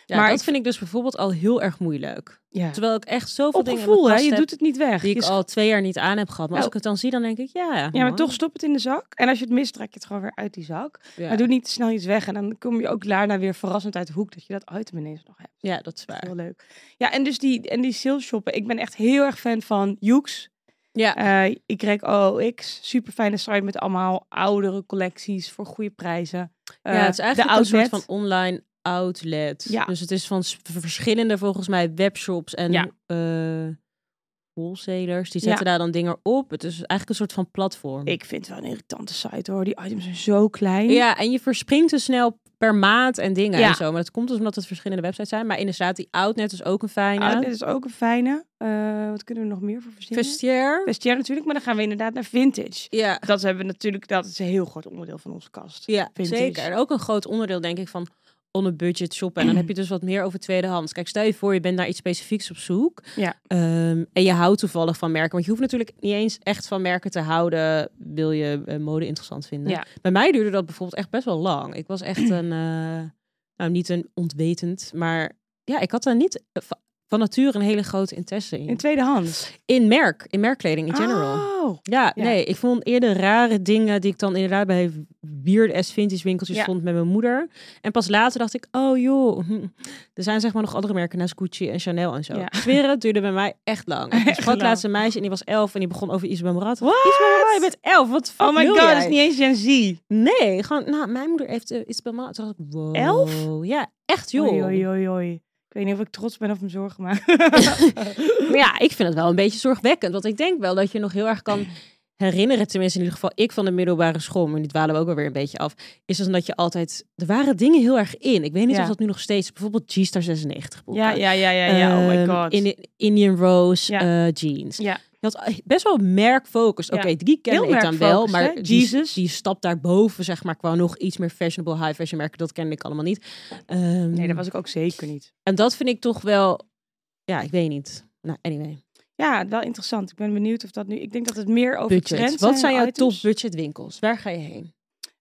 Ja,
maar
dat
ik-
vind ik dus bijvoorbeeld al heel erg moeilijk.
Ja.
Terwijl ik echt zoveel
Op
dingen
gevoel,
in
hè?
mijn kast
Je
heb
doet het niet weg.
die
Je
ik al twee jaar niet aan heb gehad. Maar
Nou.
als ik het dan zie, dan denk ik, ja.
Ja, maar
man.
toch stop het in de zak. En als je het mist, trek je het gewoon weer uit die zak.
Ja,
Maar doe niet te snel iets weg. En dan kom je ook daarna weer verrassend uit de hoek dat je dat item ineens nog hebt.
ja, dat is
Dat is
waar.
heel leuk. Ja, en dus die, en die sales shoppen. Ik ben echt heel erg fan van Hughes.
Ja.
Eh YOX. Super fijne site met allemaal oudere collecties voor goede prijzen. Eh,
ja, het is eigenlijk
de
een soort van
outlet.
online outlet.
Ja.
Dus het is van s- verschillende, volgens mij, webshops en
Ja.
eh, wholesalers. Die
Ja.
zetten daar dan dingen op. Het is eigenlijk een soort van platform.
Ik vind het wel een irritante site hoor. Die items zijn zo klein.
Ja, en je verspringt te snel per maand en dingen
Ja.
en zo. Maar dat komt dus omdat het verschillende websites zijn. Maar inderdaad, die Outnet is ook een fijne.
Outlet is ook een fijne. Eh, wat kunnen we nog meer voor verzinnen?
Vestiaire.
Vestiaire natuurlijk, maar dan gaan we inderdaad naar vintage.
Ja,
Dat hebben we natuurlijk, dat is een heel groot onderdeel van onze kast.
ja
Vintage.
zeker. En ook een groot onderdeel, denk ik, van on a budget shoppen. En dan heb je dus wat meer over tweedehands. Kijk, stel je voor, je bent naar iets specifieks op zoek.
Ja.
Ehm, en je houdt toevallig van merken. Want je hoeft natuurlijk niet eens echt van merken te houden. Wil je eh, mode interessant vinden.
Ja.
Bij mij duurde dat bijvoorbeeld echt best wel lang. Ik was echt een, eh, nou niet een ontwetend, maar ja, ik had daar niet eh, va- van nature een hele grote interesse in.
In tweedehands.
In merk, in merkkleding in general.
Oh.
Ja,
Ja.
nee, ik vond eerder rare dingen die ik dan inderdaad bij weird ass vintage winkeltjes
Ja.
vond met mijn moeder. En pas later dacht ik, oh joh, [LAUGHS] hm, er zijn zeg maar nog andere merken naast Gucci en Chanel en zo.
Ja.
Ja. [LAUGHS] Zweren, het duurde bij mij echt lang.
Echt
ik sprak
lang.
laatst een meisje en die was elf en die begon over Isabel Marat.
What?
Isabel Marat, je bent elf, wat de fuck
Oh my
wil
god, dat
jij?
is niet eens Gen Z.
Nee, gewoon, nou, mijn moeder heeft eh, Isabel Marat. Toen dacht ik, wow.
Elf?
Ja, echt joh.
Oei, oei, oei, oei. Ik weet niet of ik trots ben of me zorgen
[LAUGHS]
maak.
Maar ja, ik vind het wel een beetje zorgwekkend. Want ik denk wel dat je nog heel erg kan herinneren. Tenminste, in ieder geval ik van de middelbare school. Maar die dwalen we ook alweer een beetje af. Is dus dat je altijd... Er waren dingen heel erg in. Ik weet niet
Ja.
of dat nu nog steeds... Bijvoorbeeld G-Star 96 boeken.
ja, ja, ja, ja, ja. Oh my
Ehm,
god.
Indi- Indian Rose
Ja.
eh, jeans.
Ja.
Je had eh, best wel merkfocus.
Ja.
Oké, die kende
Heel
ik dan wel.
merkfocus,
Maar
hè?
die,
Jesus.
die stap daarboven, zeg maar, qua nog iets meer fashionable high fashion merken, dat kende ik allemaal niet. Ehm,
Nee, dat was ik ook zeker niet.
En dat vind ik toch wel... Ja, ik weet niet. Nou, anyway.
Ja, wel interessant. Ik ben benieuwd of dat nu... Ik denk dat het meer over
budget.
trends
Wat zijn jouw
items.
topbudget winkels? Waar ga je heen?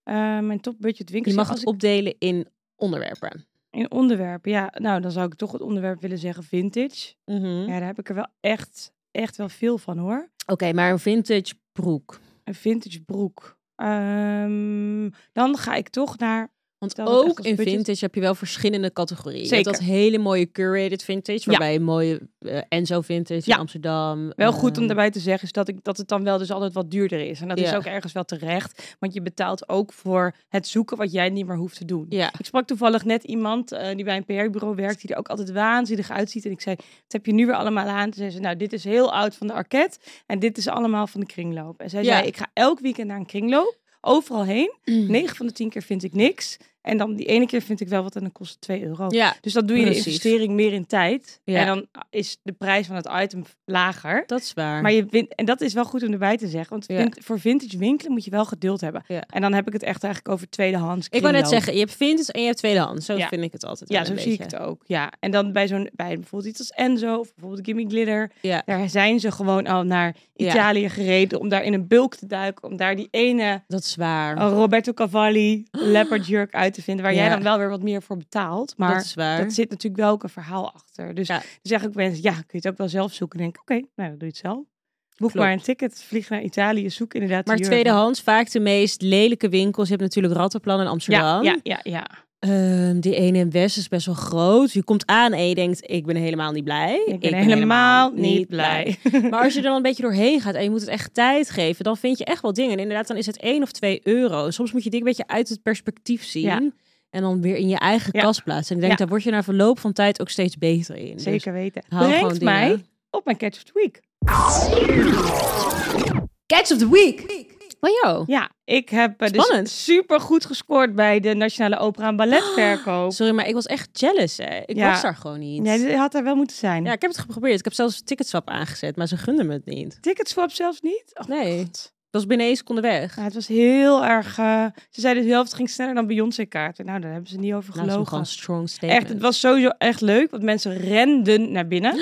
Eh, mijn topbudget winkels.
Je mag
als
het
ik-
opdelen in onderwerpen.
In onderwerpen, ja. Nou, dan zou ik toch het onderwerp willen zeggen vintage.
Hm?
Ja, daar heb ik er wel echt, echt wel veel van, hoor.
Oké, maar een vintage broek.
Een vintage broek. Ehm, dan ga ik toch naar...
Want
Tel dat echt
ook
als
in
budget?
vintage heb je wel verschillende categorieën. Je hebt
Zeker.
dat hele mooie curated vintage, waarbij een mooie eh, Enzo vintage
Ja.
in Amsterdam.
Wel goed om
ehm,
daarbij te zeggen is dat, ik, dat het dan wel dus altijd wat duurder is. En dat is
Ja.
ook ergens wel terecht. Want je betaalt ook voor het zoeken wat jij niet meer hoeft te doen.
Ja.
Ik sprak toevallig net iemand eh, die bij een PR-bureau werkt, die er ook altijd waanzinnig uitziet. En ik zei, wat heb je nu weer allemaal aan? Toen zei ze, nou, dit is heel oud van de arket en dit is allemaal van de kringloop. En zij
Ja. Mm.
zei, ik ga elk weekend naar een kringloop, overal heen. 9 van de 10 keer vind ik niks. En dan die ene keer vind ik wel wat en dan kost het 2 euro.
Ja,
Dus dan doe je
Precies.
de investering meer in tijd.
Ja.
En dan is de prijs van het item lager.
dat is waar.
Maar je wint, en dat is wel goed om erbij te zeggen. Want
Ja.
vind- voor vintage winkelen moet je wel geduld hebben.
Ja.
En dan heb ik het echt eigenlijk over tweedehands.
ik wou net
kringloop.
zeggen, je hebt vintage en je hebt tweedehands. Zo
Ja.
vind ik het altijd.
Ja,
wel
zo
een
zie ik
beetje.
het ook. Ja. En dan bij zo'n bij bijvoorbeeld iets als Enzo of bijvoorbeeld Gimme Glitter.
Ja.
Daar zijn ze gewoon al naar
Ja.
Italië gereden om daar in een bulk te duiken. Om daar die ene
Dat is waar.
Oh, Roberto
[GASPS]
Cavalli leopard jurk uit te vinden. Waar jij
Ja.
dan wel weer wat meer voor betaalt. Maar
dat is waar.
dat zit natuurlijk wel ook een verhaal achter. Dus
Ja.
dan zeggen ook mensen, ja, kun je het ook wel zelf zoeken? Dan denk ik, oké, nou dan doe je het zelf. Boek
Klopt.
maar een ticket, vlieg naar Italië, zoek inderdaad
Maar
de jurk.
tweedehands, vaak de meest lelijke winkels. Je hebt natuurlijk Rattenplan in Amsterdam.
Ja, ja, ja, ja.
Ehm, die ene in West is best wel groot. Je komt aan en je denkt, ik ben helemaal niet blij.
Ik ben, helemaal niet blij. [LAUGHS]
Maar als je er dan een beetje doorheen gaat en je moet het echt tijd geven, dan vind je echt wel dingen. En inderdaad, dan is het één of twee euro. Soms moet je dingen een beetje uit het perspectief zien.
Ja.
En dan weer in je eigen
Ja.
kast plaatsen. En ik denk,
Ja.
daar word je na verloop van tijd ook steeds beter in. Dus
Zeker weten.
hou gewoon
Brengt mij
dingen.
op mijn Catch of the Week.
Catch of the week.
Van jou.
Ja, ik heb eh,
Spannend.
dus super goed gescoord bij de Nationale Opera en
[GASPS]
Balletverkoop.
Sorry, maar ik was echt jealous, hè. Ik
Ja.
was daar gewoon niet.
Nee, dat had er wel moeten zijn.
Ja, ik heb het geprobeerd. Ik heb zelfs ticketswap aangezet, maar ze gunden me het niet.
Ticketswap zelfs niet? Oh,
Nee.
God.
Ik was binnen één seconde weg.
Ja, het was heel erg... eh, ze zeiden de helft ging sneller dan Beyoncé-kaarten. Nou, daar hebben ze niet over
Laat hem gewoon
gelogen.
een strong statement.
Echt, het was sowieso echt leuk, want mensen renden naar
[GASPS]
binnen.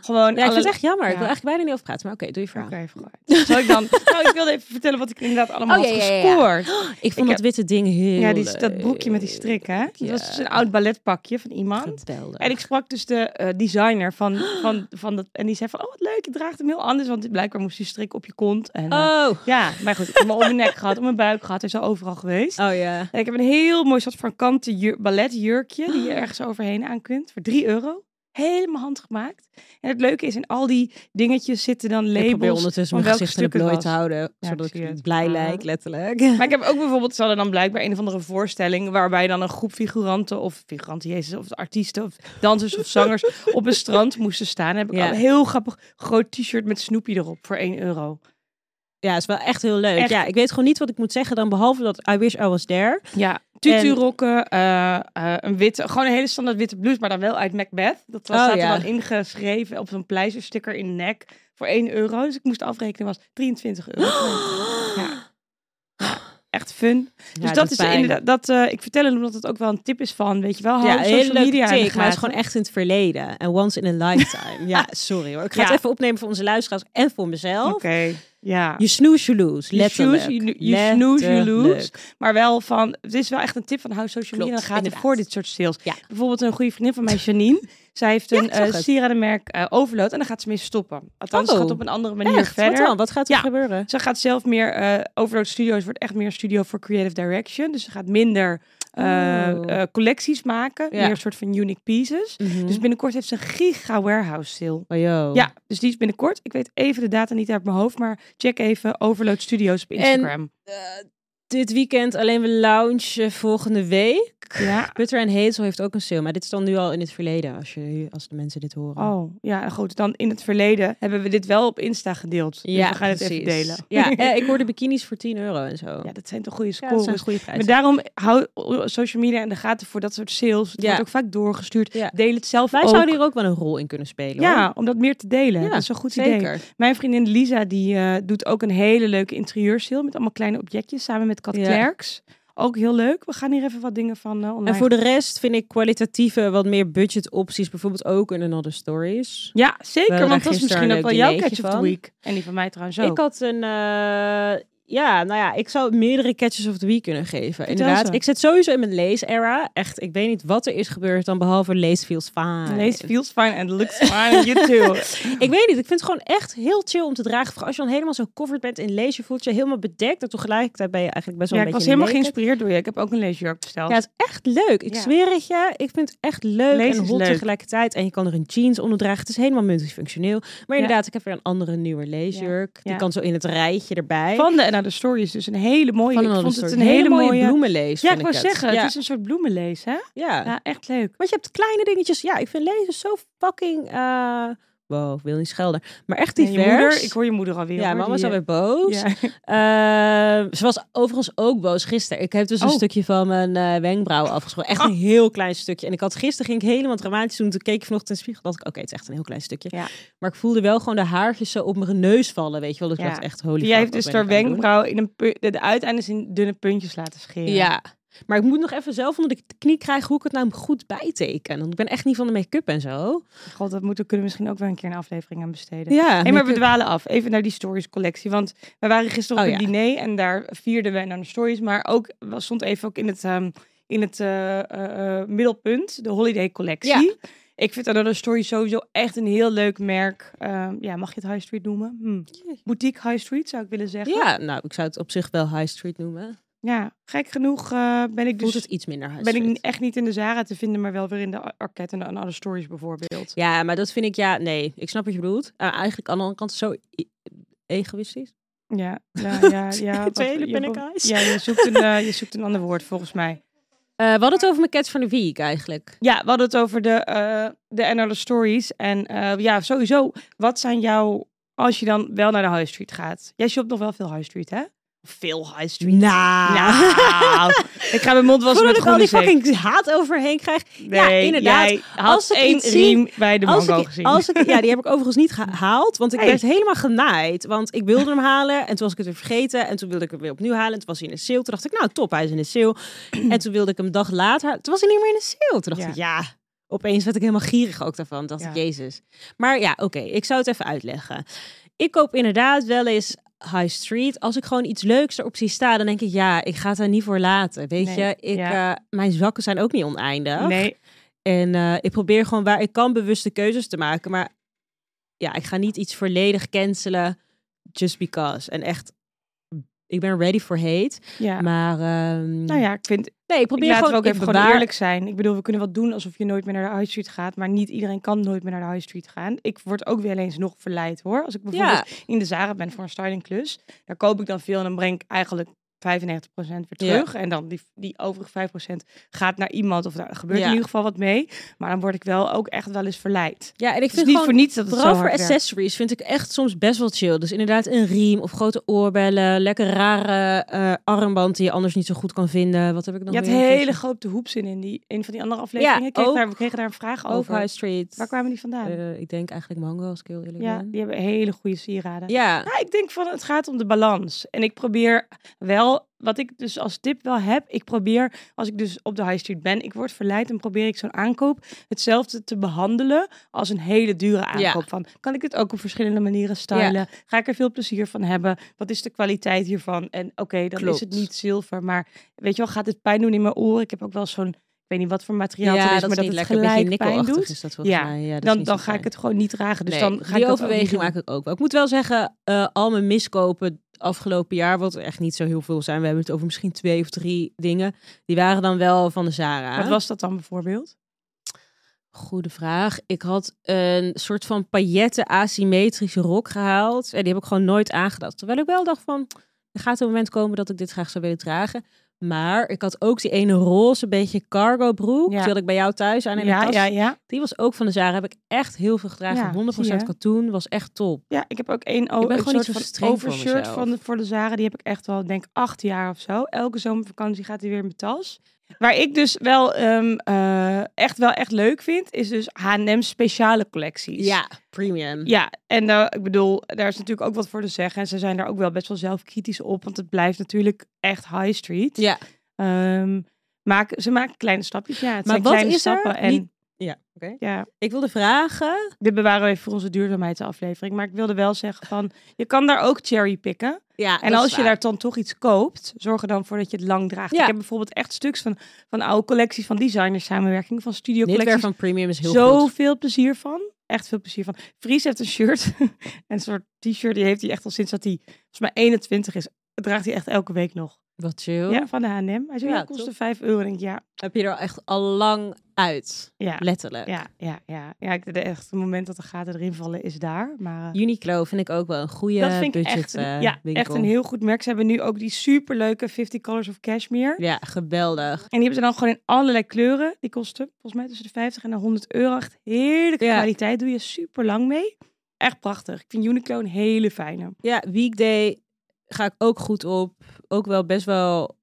Gewoon
Ja, ik vind
alle-
het
[LAUGHS]
echt jammer. Ik
Ja.
wil eigenlijk bijna niet over praten, maar oké, doe je
Oké,
verhaal.
even kwijt. [LAUGHS] Zal ik dan... nou, ik wilde even vertellen wat ik inderdaad allemaal
Oh, ja,
had
ja, ja, ja.
gescoord.
[GASPS] Ik vond
Ik
dat witte ding heel eh,
Ja, die, dat
leuk.
broekje met die strik, hè? Dat was dus
Ja.
een oud balletpakje van iemand.
Geweldig.
En ik sprak dus de eh, designer van, van, van dat. En die zei van, oh wat leuk, je draagt hem heel anders. Want blijkbaar moest die strik op je kont. En, eh,
Oh.
Ja, maar goed, ik heb hem om mijn nek gehad, om mijn buik gehad. Hij is al overal geweest.
Oh ja.
En ik heb een heel mooi soort van kanten jur- balletjurkje
Oh.
die je ergens overheen aan kunt. Voor 3 euro. Helemaal handgemaakt. En het leuke is, in al die dingetjes zitten dan
Ik probeer
labels.
ondertussen
van
mijn
welk
gezicht in de
stuk het
plooi te
was.
houden,
Ja,
zodat
ik zie het.
ik blij
Ah.
lijk, letterlijk.
Maar ik heb ook bijvoorbeeld, ze hadden dan blijkbaar een of andere voorstelling waarbij dan een groep figuranten of figuranten, jezus, of artiesten of dansers of
[LAUGHS]
zangers op een strand moesten staan. Dan heb ik
Ja.
al een heel grappig groot t-shirt met Snoopy erop voor 1 euro.
[LAUGHS] Ja, is wel echt heel leuk.
Echt.
Ja, ik weet gewoon niet wat ik moet zeggen dan behalve dat I wish I was there.
Ja, tutu rokken, eh, eh, een witte, gewoon een hele standaard witte blouse, maar dan wel uit Macbeth. Dat was,
Oh,
staat
ja.
er dan ingeschreven op zo'n pleistersticker in de nek
[GASPS]
voor 1 euro. Dus ik moest afrekenen, was 23 euro. Ja. Ja. echt fun. dus dat, is inderdaad, dat, eh, ik vertel hem omdat het ook wel een tip is van, weet je wel, hou
Ja,
op
een
social
hele leuke
media in Oh, de
take, maar het is
gaten.
gewoon echt in het verleden. En once in
[LAUGHS]
a lifetime. ja, sorry hoor. Ik ga
Ja.
het even opnemen voor onze luisteraars en voor mezelf.
Oké, ja.
Je snoes, je lose.
You
Letterlijk.
snooze, you- you snooze, you lose.
Letterlijk.
Maar wel van, het is wel echt een tip van hou social
Klopt,
media in de gaten
inderdaad.
voor dit soort sales.
Ja.
Bijvoorbeeld een goede vriendin van mij, Janine.
[LAUGHS]
Zij heeft een
ik zag
eh,
het.
sieradenmerk eh, Overload en daar gaat ze mee stoppen. Althans,
Oh.
ze gaat op een andere manier
Echt? Wat
verder.
dan? Wat gaat er
Ja.
gebeuren?
Ze gaat zelf meer, eh Overload Studios wordt echt meer een studio voor creative direction. Dus ze gaat minder eh,
Oh.
eh, collecties maken,
Ja.
meer een soort van unique pieces.
Mhm.
Dus binnenkort heeft ze een giga warehouse sale.
Oh, yo.
Ja, dus die is binnenkort. Ik weet even de data niet uit mijn hoofd, maar check even Overload Studios op Instagram.
Eh, dit weekend alleen we lounge eh, volgende week.
Ja.
Butter en Hazel heeft ook een sale, maar dit is dan nu al in het verleden als, je, als de mensen dit horen.
Oh, ja, goed. Dan in het verleden hebben we dit wel op Insta gedeeld. Dus we gaan het even
precies.
delen.
[LAUGHS] Ja, eh, ik hoorde bikinis voor 10 euro en zo.
[LAUGHS] Ja, dat zijn toch goede
Ja,
scores.
dat zijn goede
maar
prijzen.
daarom hou social media in de gaten voor dat soort sales. Het
Ja.
wordt ook vaak doorgestuurd.
Ja.
Deel het zelf
Wij
ook.
zouden hier ook wel een rol in kunnen spelen.
Ja, om dat meer te delen.
Ja,
dat is een goed idee.
zeker.
Mijn vriendin Lisa die eh, doet ook een hele leuke interieurseal met allemaal kleine objectjes samen met Kat
Ja.
Klerks. Ook heel leuk. We gaan hier even wat dingen van eh, online.
En voor de rest vind ik kwalitatieve, wat meer budget opties, bijvoorbeeld ook in Another Stories.
Ja, zeker.
hadden
want dat is
gisteren
misschien
een
ook wel
leuk
jouw
dinertje
catch of the
van.
week. En die van mij trouwens ook.
Ik had een, eh, ja, nou ja, ik zou meerdere catches of the week kunnen geven. Inderdaad,
ze.
ik zit sowieso in mijn lees-era. Echt, ik weet niet wat er is gebeurd dan behalve lees feels fine.
Nee, it feels fine and
[LAUGHS]
looks fine on you too.
Ik weet niet, ik vind het gewoon echt heel chill om te dragen. Vooral Als je dan helemaal zo covered bent in lees, je voelt je helemaal bedekt. En tegelijkertijd ben je eigenlijk best wel
ja,
een
ik was
beetje
helemaal
naked.
geïnspireerd door je. Ik heb ook een leesjurk besteld.
Ja, het is echt leuk. Ik
Ja.
zweer het je. Ik vind het echt leuk
Lees
en
is
hot
leuk.
tegelijkertijd. En je kan er een jeans onder dragen. Het is helemaal multifunctioneel.
Ja.
Maar inderdaad, ik heb weer een andere nieuwe leesjurk. Die
Ja.
kan zo in het rijtje erbij.
van de Another Story is dus een hele mooie.
Van
ik
een
vond
soort
het een hele mooie,
bloemenlees.
Ja,
vind
ik wou
het.
zeggen,
Ja.
het is een soort bloemenlees, hè?
ja.
Ja, echt leuk.
Want je hebt kleine dingetjes. Ja, ik vind lezen zo fucking... eh, Wow, ik wil niet schelden. Maar echt
En
divers.
je moeder, ik hoor je moeder alweer.
ja,
hoor,
mama
die,
is alweer boos.
eh, ja.
Eh, ze was overigens ook boos gisteren. Ik heb dus een
Oh.
stukje van mijn eh wenkbrauw afgeschoren. Echt een heel klein stukje. En ik had gisteren ging ik helemaal dramatisch doen. Toen keek ik vanochtend in de spiegel. dacht ik, oké, het is echt een heel klein stukje.
Ja.
Maar ik voelde wel gewoon de haartjes zo op mijn neus vallen. Weet je wel, dat ik
Ja.
dacht echt holy
Jij
fuck,
heeft
wat
dus
ben
haar
ik aan het doen?
wenkbrauw in een pu- de, de uiteindes in dunne puntjes laten scheren.
Ja. Maar ik moet nog even zelf onder de knie krijgen hoe ik het nou goed bijteken. Want ik ben echt niet van de make-up en zo.
God, dat moeten we kunnen we misschien ook wel een keer een aflevering aan besteden.
Ja,
Hey, maar we dwalen af. Even naar die stories collectie. Want we waren gisteren op
Oh,
een
ja.
diner en daar vierden we naar de stories. Maar ook was- stond even ook in het, ehm, in het eh, eh, eh, middelpunt de holiday collectie. Ik vind Another Story sowieso echt een heel leuk merk. Ehm, ja, mag je het high street noemen? Hm. Boutique high street zou ik willen zeggen.
Ja, nou, ik zou het op zich wel high street noemen.
Ja, gek genoeg eh, ben ik
Voelt
dus
het iets minder high
ben
street.
ik ni- echt niet in de Zara te vinden, maar wel weer in de Ar- Arket en de Another Stories bijvoorbeeld.
Ja, maar dat vind ik ja, nee. Ik snap wat je bedoelt. Eh, eigenlijk aan de andere kant zo i- egoïstisch.
Ja, ja,
[LAUGHS]
ja. ja
Twee
wat-
hele
je-
pindakaas.
Ja, je zoekt, een, eh, je zoekt een ander woord volgens mij.
Eh, we hadden het over mijn catch van de week eigenlijk.
Ja, we hadden het over de, eh de Another Stories. En eh, ja, sowieso, wat zijn jouw... Als je dan wel naar de high street gaat. Jij shopt nog wel veel high street, hè? Veel high street.
Nou.
Nou, [LAUGHS] ik ga mijn mond wassen
Voordat
met
ik al
groene
die
zeep.
fucking haat overheen krijg. ja,
Nee,
inderdaad.
jij had
Als ik
één
iets
riem bij de
als
mango
ik,
gezien.
als ik, ja, die
[LAUGHS]
heb ik overigens niet gehaald. Want ik
Hey.
werd helemaal genaaid. Want ik wilde hem halen en toen was ik het weer vergeten. En toen wilde ik hem weer opnieuw halen. En toen was hij in de sale. Toen dacht ik, nou top, hij is in de
[CLEARS THROAT]
sale. en toen wilde ik hem een dag later halen. Toen was hij niet meer in de sale. Toen dacht
Ja.
ik, ja... Opeens werd ik helemaal gierig ook daarvan. Toen dacht ik,
Ja.
jezus. Maar ja, oké, ik zou het even uitleggen. Ik koop inderdaad wel eens high street. Als ik gewoon iets leuks erop zie staan, dan denk ik, ja, ik ga het daar niet voor laten. Weet
Nee,
je, ik,
ja.
eh, mijn zakken zijn ook niet oneindig.
Nee,
En eh, ik probeer gewoon waar ik kan bewuste keuzes te maken. Maar ja, ik ga niet iets volledig cancelen just because. En echt, ik ben ready for hate.
ja.
Maar ehm,
nou ja, ik vind...
nee, ik
Ik
Mm. probeer
laten
gewoon,
we ook
ik
even gewoon
bewaar-
eerlijk zijn. Ik bedoel, we kunnen wel doen alsof je nooit meer naar de high street gaat. Maar niet iedereen kan nooit meer naar de high street gaan. Ik word ook wel eens nog verleid, hoor. Als ik bijvoorbeeld
Ja,
in de Zara ben voor een stylingklus. Daar koop ik dan veel en dan breng ik eigenlijk 95% weer terug. En dan die, die overige 5% gaat naar iemand of daar gebeurt
Ja.
in ieder geval wat mee. Maar dan word ik wel ook echt wel eens verleid.
ja, en ik
Het is
vind
niet
gewoon,
voor niets dat het zo
vooral
hard
voor
werkt.
accessories vind ik echt soms best wel chill. Dus inderdaad een riem of grote oorbellen, lekker rare eh, armband die je anders niet zo goed kan vinden. Wat heb ik nog
Je had
meer?
hele grote hoeps in in die, een van die andere afleveringen. Ik kreeg
ook-
daar, we kregen daar een vraag
over
over.
High Street.
Waar kwamen die vandaan?
Eh, ik denk eigenlijk mango als ik heel eerlijk
ja,
ben.
die hebben hele goede sieraden.
Ja.
Ja, ik denk van het gaat om de balans. En ik probeer wel wel, wat ik dus als tip wel heb, ik probeer, als ik dus op de high street ben, ik word verleid en probeer ik zo'n aankoop hetzelfde te behandelen als een hele dure aankoop. Van, kan ik het ook op verschillende manieren stylen? Ga ik er veel plezier van hebben? Wat is de kwaliteit hiervan? En oké, dan is het
Klopt.
niet zilver, maar weet je wel, gaat het pijn doen in mijn oren? Ik heb ook wel zo'n, ik weet niet wat voor materiaal het
ja,
is,
dat
maar
is
dat
dus niet
het
lekker. Een beetje
gelijk pijn
nikkelachtig
doet.
is dat volgens
Ja,
mij. Ja, dat is
Dan,
niet
dan
zo
ga ik
fijn.
het gewoon niet dragen. Dus
Nee,
dan ga
die
ik dat ook niet
overweging
doen.
maak ik ook wel. Ik moet wel zeggen, eh, al mijn miskopen afgelopen jaar, wat er echt niet zo heel veel zijn. We hebben het over misschien twee of drie dingen. Die waren dan wel van de Zara.
Wat was dat dan bijvoorbeeld?
Goede vraag. Ik had een soort van pailletten asymmetrische rok gehaald. En die heb ik gewoon nooit aangedaan. Terwijl ik wel dacht van, er gaat een moment komen dat ik dit graag zou willen dragen. Maar ik had ook die ene roze beetje cargo broek.
Ja.
Die had ik bij jou thuis aan in de
ja,
kast.
ja, ja.
Die was ook van de Zara. Heb ik echt heel veel
Ja,
gedragen. 100%
zie je.
katoen. Was echt top.
Ja, ik heb ook één o-
Ik ben
een
gewoon
soort
niet zo
van
streng voor
overshirt
mezelf.
van de, voor de Zara. Die heb ik echt al, denk ik, acht jaar of zo. Elke zomervakantie gaat hij weer in mijn tas. Waar ik dus wel, ehm, eh, echt, wel echt leuk vind, is dus H&M speciale collecties.
Ja, premium.
Ja, en eh, ik bedoel, daar is natuurlijk ook wat voor te zeggen. En ze zijn daar ook wel best wel zelfkritisch op, want het blijft natuurlijk echt high street.
Ja.
Ehm, maak, ze maken kleine stapjes, ja. Het
Maar
zijn
wat
kleine
is er
stappen en
niet- Ja, oké.
ja,
Ik wilde vragen.
dit bewaren we even voor onze duurzaamheidsaflevering. Maar ik wilde wel zeggen van, je kan daar ook cherrypicken.
Ja,
En
Ah, dat is
als je
waar.
daar dan toch iets koopt, zorg er dan voor dat je het lang draagt.
Ja.
Ik heb bijvoorbeeld echt stuks van, van oude collecties, van designers samenwerking, van studio
Knitwear
collecties.
van premium is heel goed.
Zoveel plezier van. Echt veel plezier van. Fries heeft een shirt. [LAUGHS] een soort t-shirt. Die heeft hij echt al sinds dat hij volgens mij 21 is. Draagt hij echt elke week nog.
Wat chill.
Ja, van de H&M. Hij zei,
Ja,
ja, kostte
top.
5 euro. En ik denk, ja,
Heb je er echt al lang uit.
ja,
Letterlijk.
ja, ja, ja. Ja, ik, de, echt, het moment dat de gaten erin vallen is daar. Maar, eh,
Uniqlo vind ik ook wel een goede
dat vind ik
budget
echt, een-
eh,
ja,
winkel.
echt een heel goed merk. Ze hebben nu ook die superleuke 50 Colors of Cashmere.
Ja, geweldig.
En die hebben ze dan gewoon in allerlei kleuren. Die kosten volgens mij tussen de 50 en de 100 euro. Echt heerlijke
Ja.
kwaliteit. Doe je super lang mee. Echt prachtig. Ik vind Uniqlo een hele fijne.
Ja, weekday ga ik ook goed op. Ook wel best wel,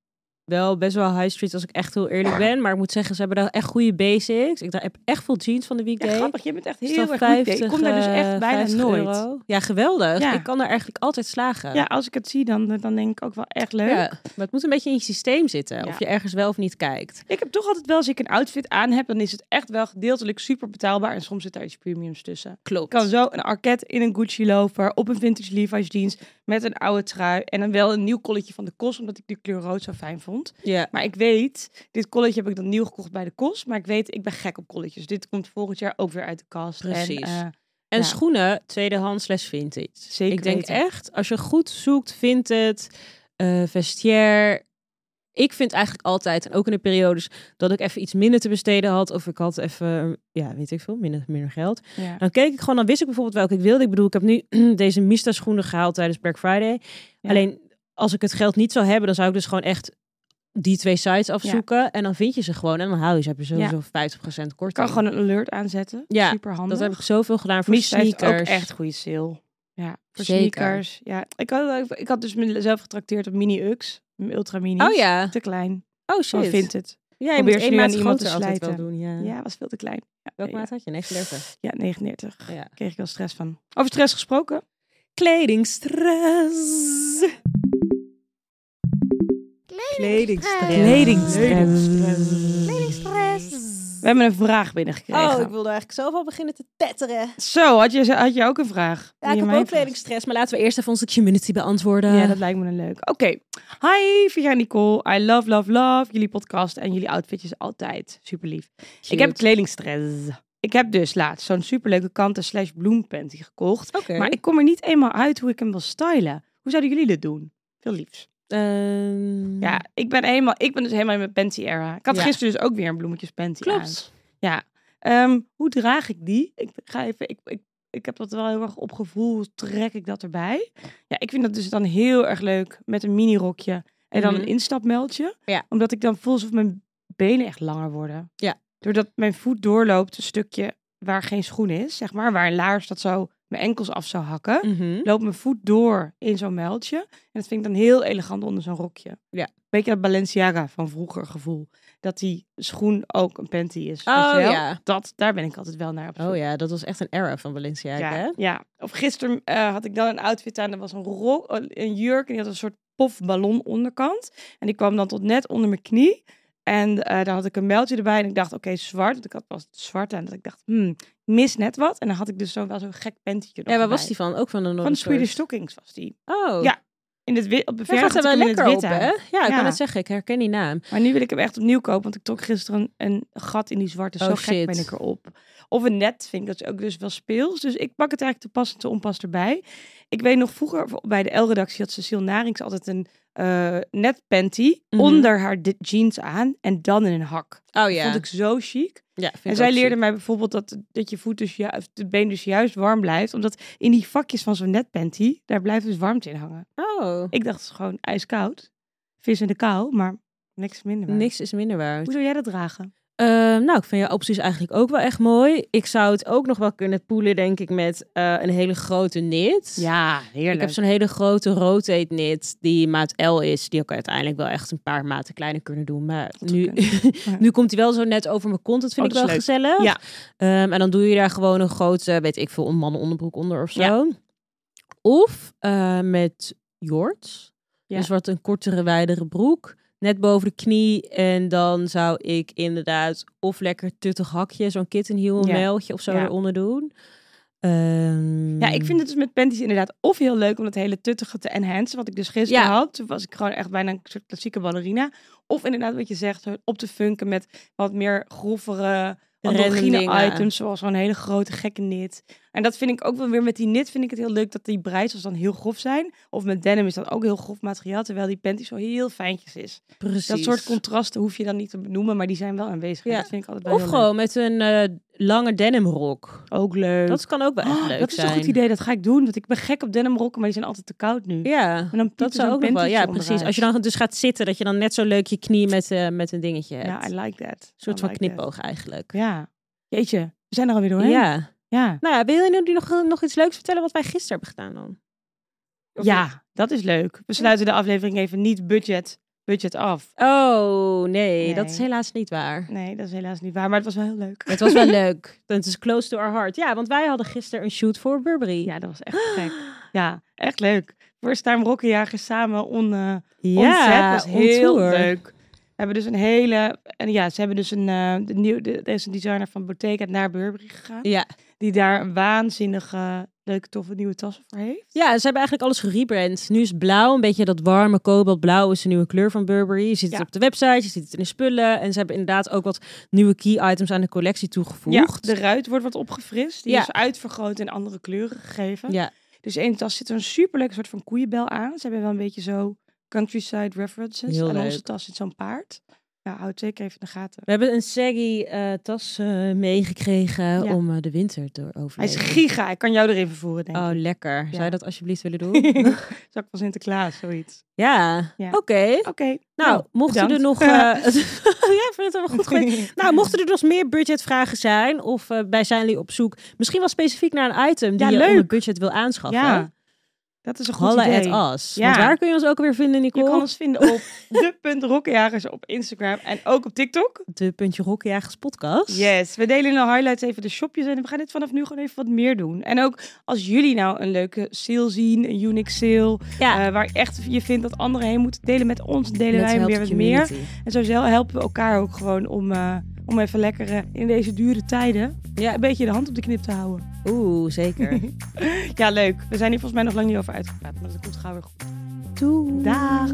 wel best wel high street als ik echt heel eerlijk ben. Maar ik moet zeggen, ze hebben daar echt goede basics. Ik dra- heb echt veel jeans van de
Ja,
weekday.
grappig. Je bent echt
Is
heel
dan
erg goed mee. Ik
50,
kom daar dus echt
eh,
bijna
50
nooit.
euro. Ja, geweldig.
Ja.
Ik kan daar eigenlijk altijd slagen.
Ja, als ik het zie, dan, dan denk ik ook wel echt leuk.
Ja, maar het moet een beetje in je systeem zitten.
Ja.
Of je ergens wel of niet kijkt.
Ik heb toch altijd wel, als ik een outfit aan heb, dan is het echt wel gedeeltelijk super betaalbaar. En soms zit daar iets premiums tussen.
Klopt.
Ik kan zo een arket in een Gucci loper, op een vintage Levi's jeans, met een oude trui. En dan wel een nieuw kolletje van de kost, omdat ik die kleur rood zo fijn vond.
Ja.
Maar ik weet, dit colletje heb ik dan nieuw gekocht bij de kost. Maar ik weet, ik ben gek op colletjes. Dit komt volgend jaar ook weer uit de kast.
Precies.
En, eh,
En
Ja.
schoenen, tweedehands slash vintage.
Zeker
Ik denk
weten.
echt, als je goed zoekt, vindt het. eh, vestiaire. Ik vind eigenlijk altijd, en ook in de periodes dat ik even iets minder te besteden had. Of ik had even, ja, weet ik veel, minder, minder geld.
ja.
Dan keek ik gewoon, dan wist ik bijvoorbeeld welke ik wilde. Ik bedoel, ik heb nu [CLEARS THROAT] deze Mista schoenen gehaald tijdens Black Friday.
Ja.
Alleen, als ik het geld niet zou hebben, dan zou ik dus gewoon echt die twee sites afzoeken. En dan vind je ze gewoon en dan hou je ze. Heb je sowieso 50%
Ik kan
korting.
gewoon een alert aanzetten.
Ja,
Super handig.
Dat heb ik zoveel gedaan voor
Mista heeft
sneakers.
ook echt goede sale. Ja, voor
Zeker.
sneakers. Ja, ik had, ik had dus mezelf getrakteerd op mini-ux. Ultra mini.
Oh ja.
Te klein.
Oh
Zo
shit.
vindt het.
Ja, je
Probeer
moet
ze
één
nu
maat
aan iemand
groter
te
altijd wel
slijten.
doen. Ja.
Ja, was veel te klein. Ja,
Welke
ja.
maat had
[LAUGHS]
je? 39.
Ja, 39.
Ja.
Kreeg ik wel stress van. Over stress gesproken.
Kledingstress. Kledingstress.
We hebben een vraag binnengekregen.
Oh, ik wilde eigenlijk zelf al beginnen te tetteren.
Zo, had je, had je ook een vraag?
Ja,
Die
ik
je mij
heb ook
vraagt.
kledingstress, maar laten we eerst even onze community beantwoorden.
Ja, dat lijkt me een leuk. Oké. Hi, Via en Nicole. I love, love, love jullie podcast en jullie outfitjes altijd. Super lief. Ik heb kledingstress. Ik heb dus laatst zo'n superleuke kanten slash bloempanty gekocht.
Oké.
Maar ik kom er niet eenmaal uit hoe ik hem wil stylen. Hoe zouden jullie dit doen? Veel liefs.
Ehm,
Ja, ik ben, helemaal, ik ben dus helemaal in mijn panty era. Ik had
Ja.
gisteren dus ook weer een bloemetjes panty aan.
Klopt.
Ja. Ehm, hoe draag ik die? Ik ga even. Ik, ik, ik heb dat wel heel erg op gevoel. Hoe trek ik dat erbij? Ja, ik vind dat dus dan heel erg leuk met een minirokje en dan een
Mhm.
instapmeldje.
Ja.
Omdat ik dan voel alsof mijn benen echt langer worden.
Ja.
Doordat mijn voet doorloopt een stukje waar geen schoen is, zeg maar, waar een laars dat zo mijn enkels af zou hakken.
Mhm.
Loopt mijn voet door in zo'n meldje. En dat vind ik dan heel elegant onder zo'n rokje.
Ja.
Beetje dat Balenciaga van vroeger gevoel. Dat die schoen ook een panty is. weet
Oh
je wel?
ja.
dat, daar ben ik altijd wel naar op zoek.
Oh ja, dat was echt een era van
ja,
Balenciaga. hè?
ja. Of gisteren eh, had ik dan een outfit aan. Dat was een, rok, een jurk en die had een soort pofballon onderkant. En die kwam dan tot net onder mijn knie. En eh, dan had ik een meldje erbij en ik dacht, oké, zwart. Want ik had pas zwart aan. Dus ik dacht, hmm, mis net wat. En dan had ik dus zo, wel zo'n gek pentje nog
Ja, waar was
erbij.
die van? Ook van de
Van
Northern
de Swedish Stockings was die.
Oh.
Ja, In het wit, op
Daar
beverf
gaat
had
ze
ik
wel
hem in het
lekker
wit
op,
aan.
hè? Ja, ik
Ja.
kan het zeggen. Ik herken die naam.
Maar nu wil ik hem echt opnieuw kopen, want ik trok gisteren een, een gat in die zwarte. Zo
Oh,
gek
shit.
ben ik erop. Of een net vind ik dat ook dus wel speels. Dus ik pak het eigenlijk te pas en te onpas erbij. Ik weet nog vroeger bij de L-redactie had Cecile Narings altijd een eh net panty
Mhm.
onder haar di- jeans aan en dan in een hak.
Oh
Dat vond ik zo chic.
ja, vind
En
ik
zij
ook
leerde
chic.
mij bijvoorbeeld dat, dat je voet dus juist, het been dus juist warm blijft. Omdat in die vakjes van zo'n net panty, daar blijft dus warmte in hangen.
Oh.
Ik dacht het is gewoon ijskoud. Vis in de kou, maar niks minder. waard.
Niks is minder waard.
Hoe zou jij dat dragen?
Eh, nou, ik vind jouw opties eigenlijk ook wel echt mooi. Ik zou het ook nog wel kunnen poelen, denk ik, met eh, een hele grote knit.
Ja, heerlijk.
Ik heb zo'n hele grote rotate knit die maat L is. Die ook uiteindelijk wel echt een paar maten kleiner kunnen doen. Maar nu, [LAUGHS]
Ja.
nu komt hij wel zo net over mijn kont. Dat vind
Oh,
ik wel
dat is
gezellig.
Ja.
Ehm, en dan doe je daar gewoon een grote, weet ik veel, een mannenonderbroek onder of zo. Of eh, met jorts.
Ja.
Dus wat een kortere, wijdere broek. Net boven de knie. En dan zou ik inderdaad of lekker tuttig hakje, zo'n kittenhiel, een
Ja.
mijltje of zo
Ja.
eronder doen. Ehm,
Ja, ik vind het dus met panties inderdaad of heel leuk om dat hele tuttige te enhancen. Wat ik dus gisteren
Ja.
had. Toen was ik gewoon echt bijna een soort klassieke ballerina. Of inderdaad wat je zegt, zo op te funken met wat meer grovere
Random
androgyne
dingen.
items. Zoals zo'n hele grote gekke knit. En dat vind ik ook wel weer met die knit vind ik het heel leuk dat die breisels dan heel grof zijn. Of met denim is dat ook heel grof materiaal. Terwijl die panty zo heel fijntjes is.
precies.
Dat soort contrasten hoef je dan niet te benoemen, maar die zijn wel aanwezig. En
Ja.
Dat vind ik altijd wel
Of
heel
gewoon met een eh, lange denimrok.
leuk. Ook leuk.
Dat kan ook wel echt
Oh,
leuk
dat is
zijn.
een goed idee, dat ga ik doen. Want ik ben gek op denimrokken, maar die zijn altijd te koud nu.
Ja,
En dan piept
dat
er
zou
zo'n
ook nog wel. Ja,
pentje
precies.
onderuit.
Als je dan dus gaat zitten, dat je dan net zo leuk je knie met, eh, met een dingetje hebt.
Ja, I
een
like that. Een
soort van knipoog eigenlijk.
Ja. Jeetje, we zijn er alweer doorheen.
Ja.
Ja.
Nou ja, wil je nu nog, nog iets leuks vertellen wat wij gisteren hebben gedaan dan? Of niet?
Ja, dat is leuk. We sluiten de aflevering even niet budget, budget af.
Oh, nee, dat is
Nee.
helaas niet
[LAUGHS]
waar.
Nee, dat is helaas niet waar, maar het was wel heel leuk.
Het was wel leuk. Het is close to our heart. Ja, want wij hadden gisteren een shoot voor Burberry.
Ja, dat was echt gek. Ja, echt leuk. First time rokkenjager samen on, eh,
ja
on set was heel
on tour.
leuk. We hebben dus een hele... En ja, ze hebben dus een... eh, de nieuw, de, er is een designer van Bottega naar Burberry gegaan.
Ja.
Die daar een waanzinnige, leuke, toffe nieuwe tassen voor heeft.
Ja, ze hebben eigenlijk alles gerebrand. Nu is blauw, een beetje dat warme kobaltblauw is de nieuwe kleur van Burberry. Je ziet het
Ja.
op de website, je ziet het in de spullen. En ze hebben inderdaad ook wat nieuwe key items aan de collectie toegevoegd.
Ja, de ruit wordt wat opgefrist. Die
Ja.
is uitvergroot en andere kleuren gegeven.
Ja.
Dus één tas zit er een superleuk soort van koeienbel aan. Ze hebben wel een beetje zo countryside references.
Heel
en onze
leuk.
tas zit zo'n paard. Ja, houd zeker even in de gaten.
We hebben een saggy eh, tas eh, meegekregen
Ja.
om eh, de winter door over.
Hij is giga. Ik kan jou erin vervoeren, denk
Oh,
ik.
lekker. Zou
Ja.
je dat alsjeblieft willen doen?
[LAUGHS] Zak van Sinterklaas, zoiets.
ja,
Ja.
oké.
Oké.
Nou, mochten er
[LAUGHS]
nog... eh [LAUGHS] ja, ik vind het wel goed geweest. [LAUGHS] Nou, mochten er nog meer budgetvragen zijn, of eh, wij zijn jullie op zoek, misschien wel specifiek naar een item die
Ja,
je onder
leuk.
budget wil aanschaffen.
Ja, dat is een goed
Halle
idee.
at us.
Ja.
Want waar kun je ons ook alweer vinden,
Je
Nicole?
kan ons vinden
[LAUGHS]
op de.rokkenjagers op Instagram en ook op TikTok.
De Puntje Rokkenjagers podcast.
Yes, we delen in de highlights even de shopjes en we gaan dit vanaf nu gewoon even wat meer doen. En ook als jullie nou een leuke sale zien, een unique sale,
Ja.
eh, waar echt je vindt dat anderen heen moeten delen met ons, delen
Let's
wij hem
help
weer
the
wat meer.
community.
En zo zel- helpen we elkaar ook gewoon om, eh, om even lekker eh, in deze dure tijden
Ja.
een beetje de hand op de knip te houden.
Oeh, [LAUGHS] zeker.
Ja, leuk. We zijn hier volgens mij nog lang niet over uitgepraat, maar dat komt gauw weer goed.
Doei.
Daag.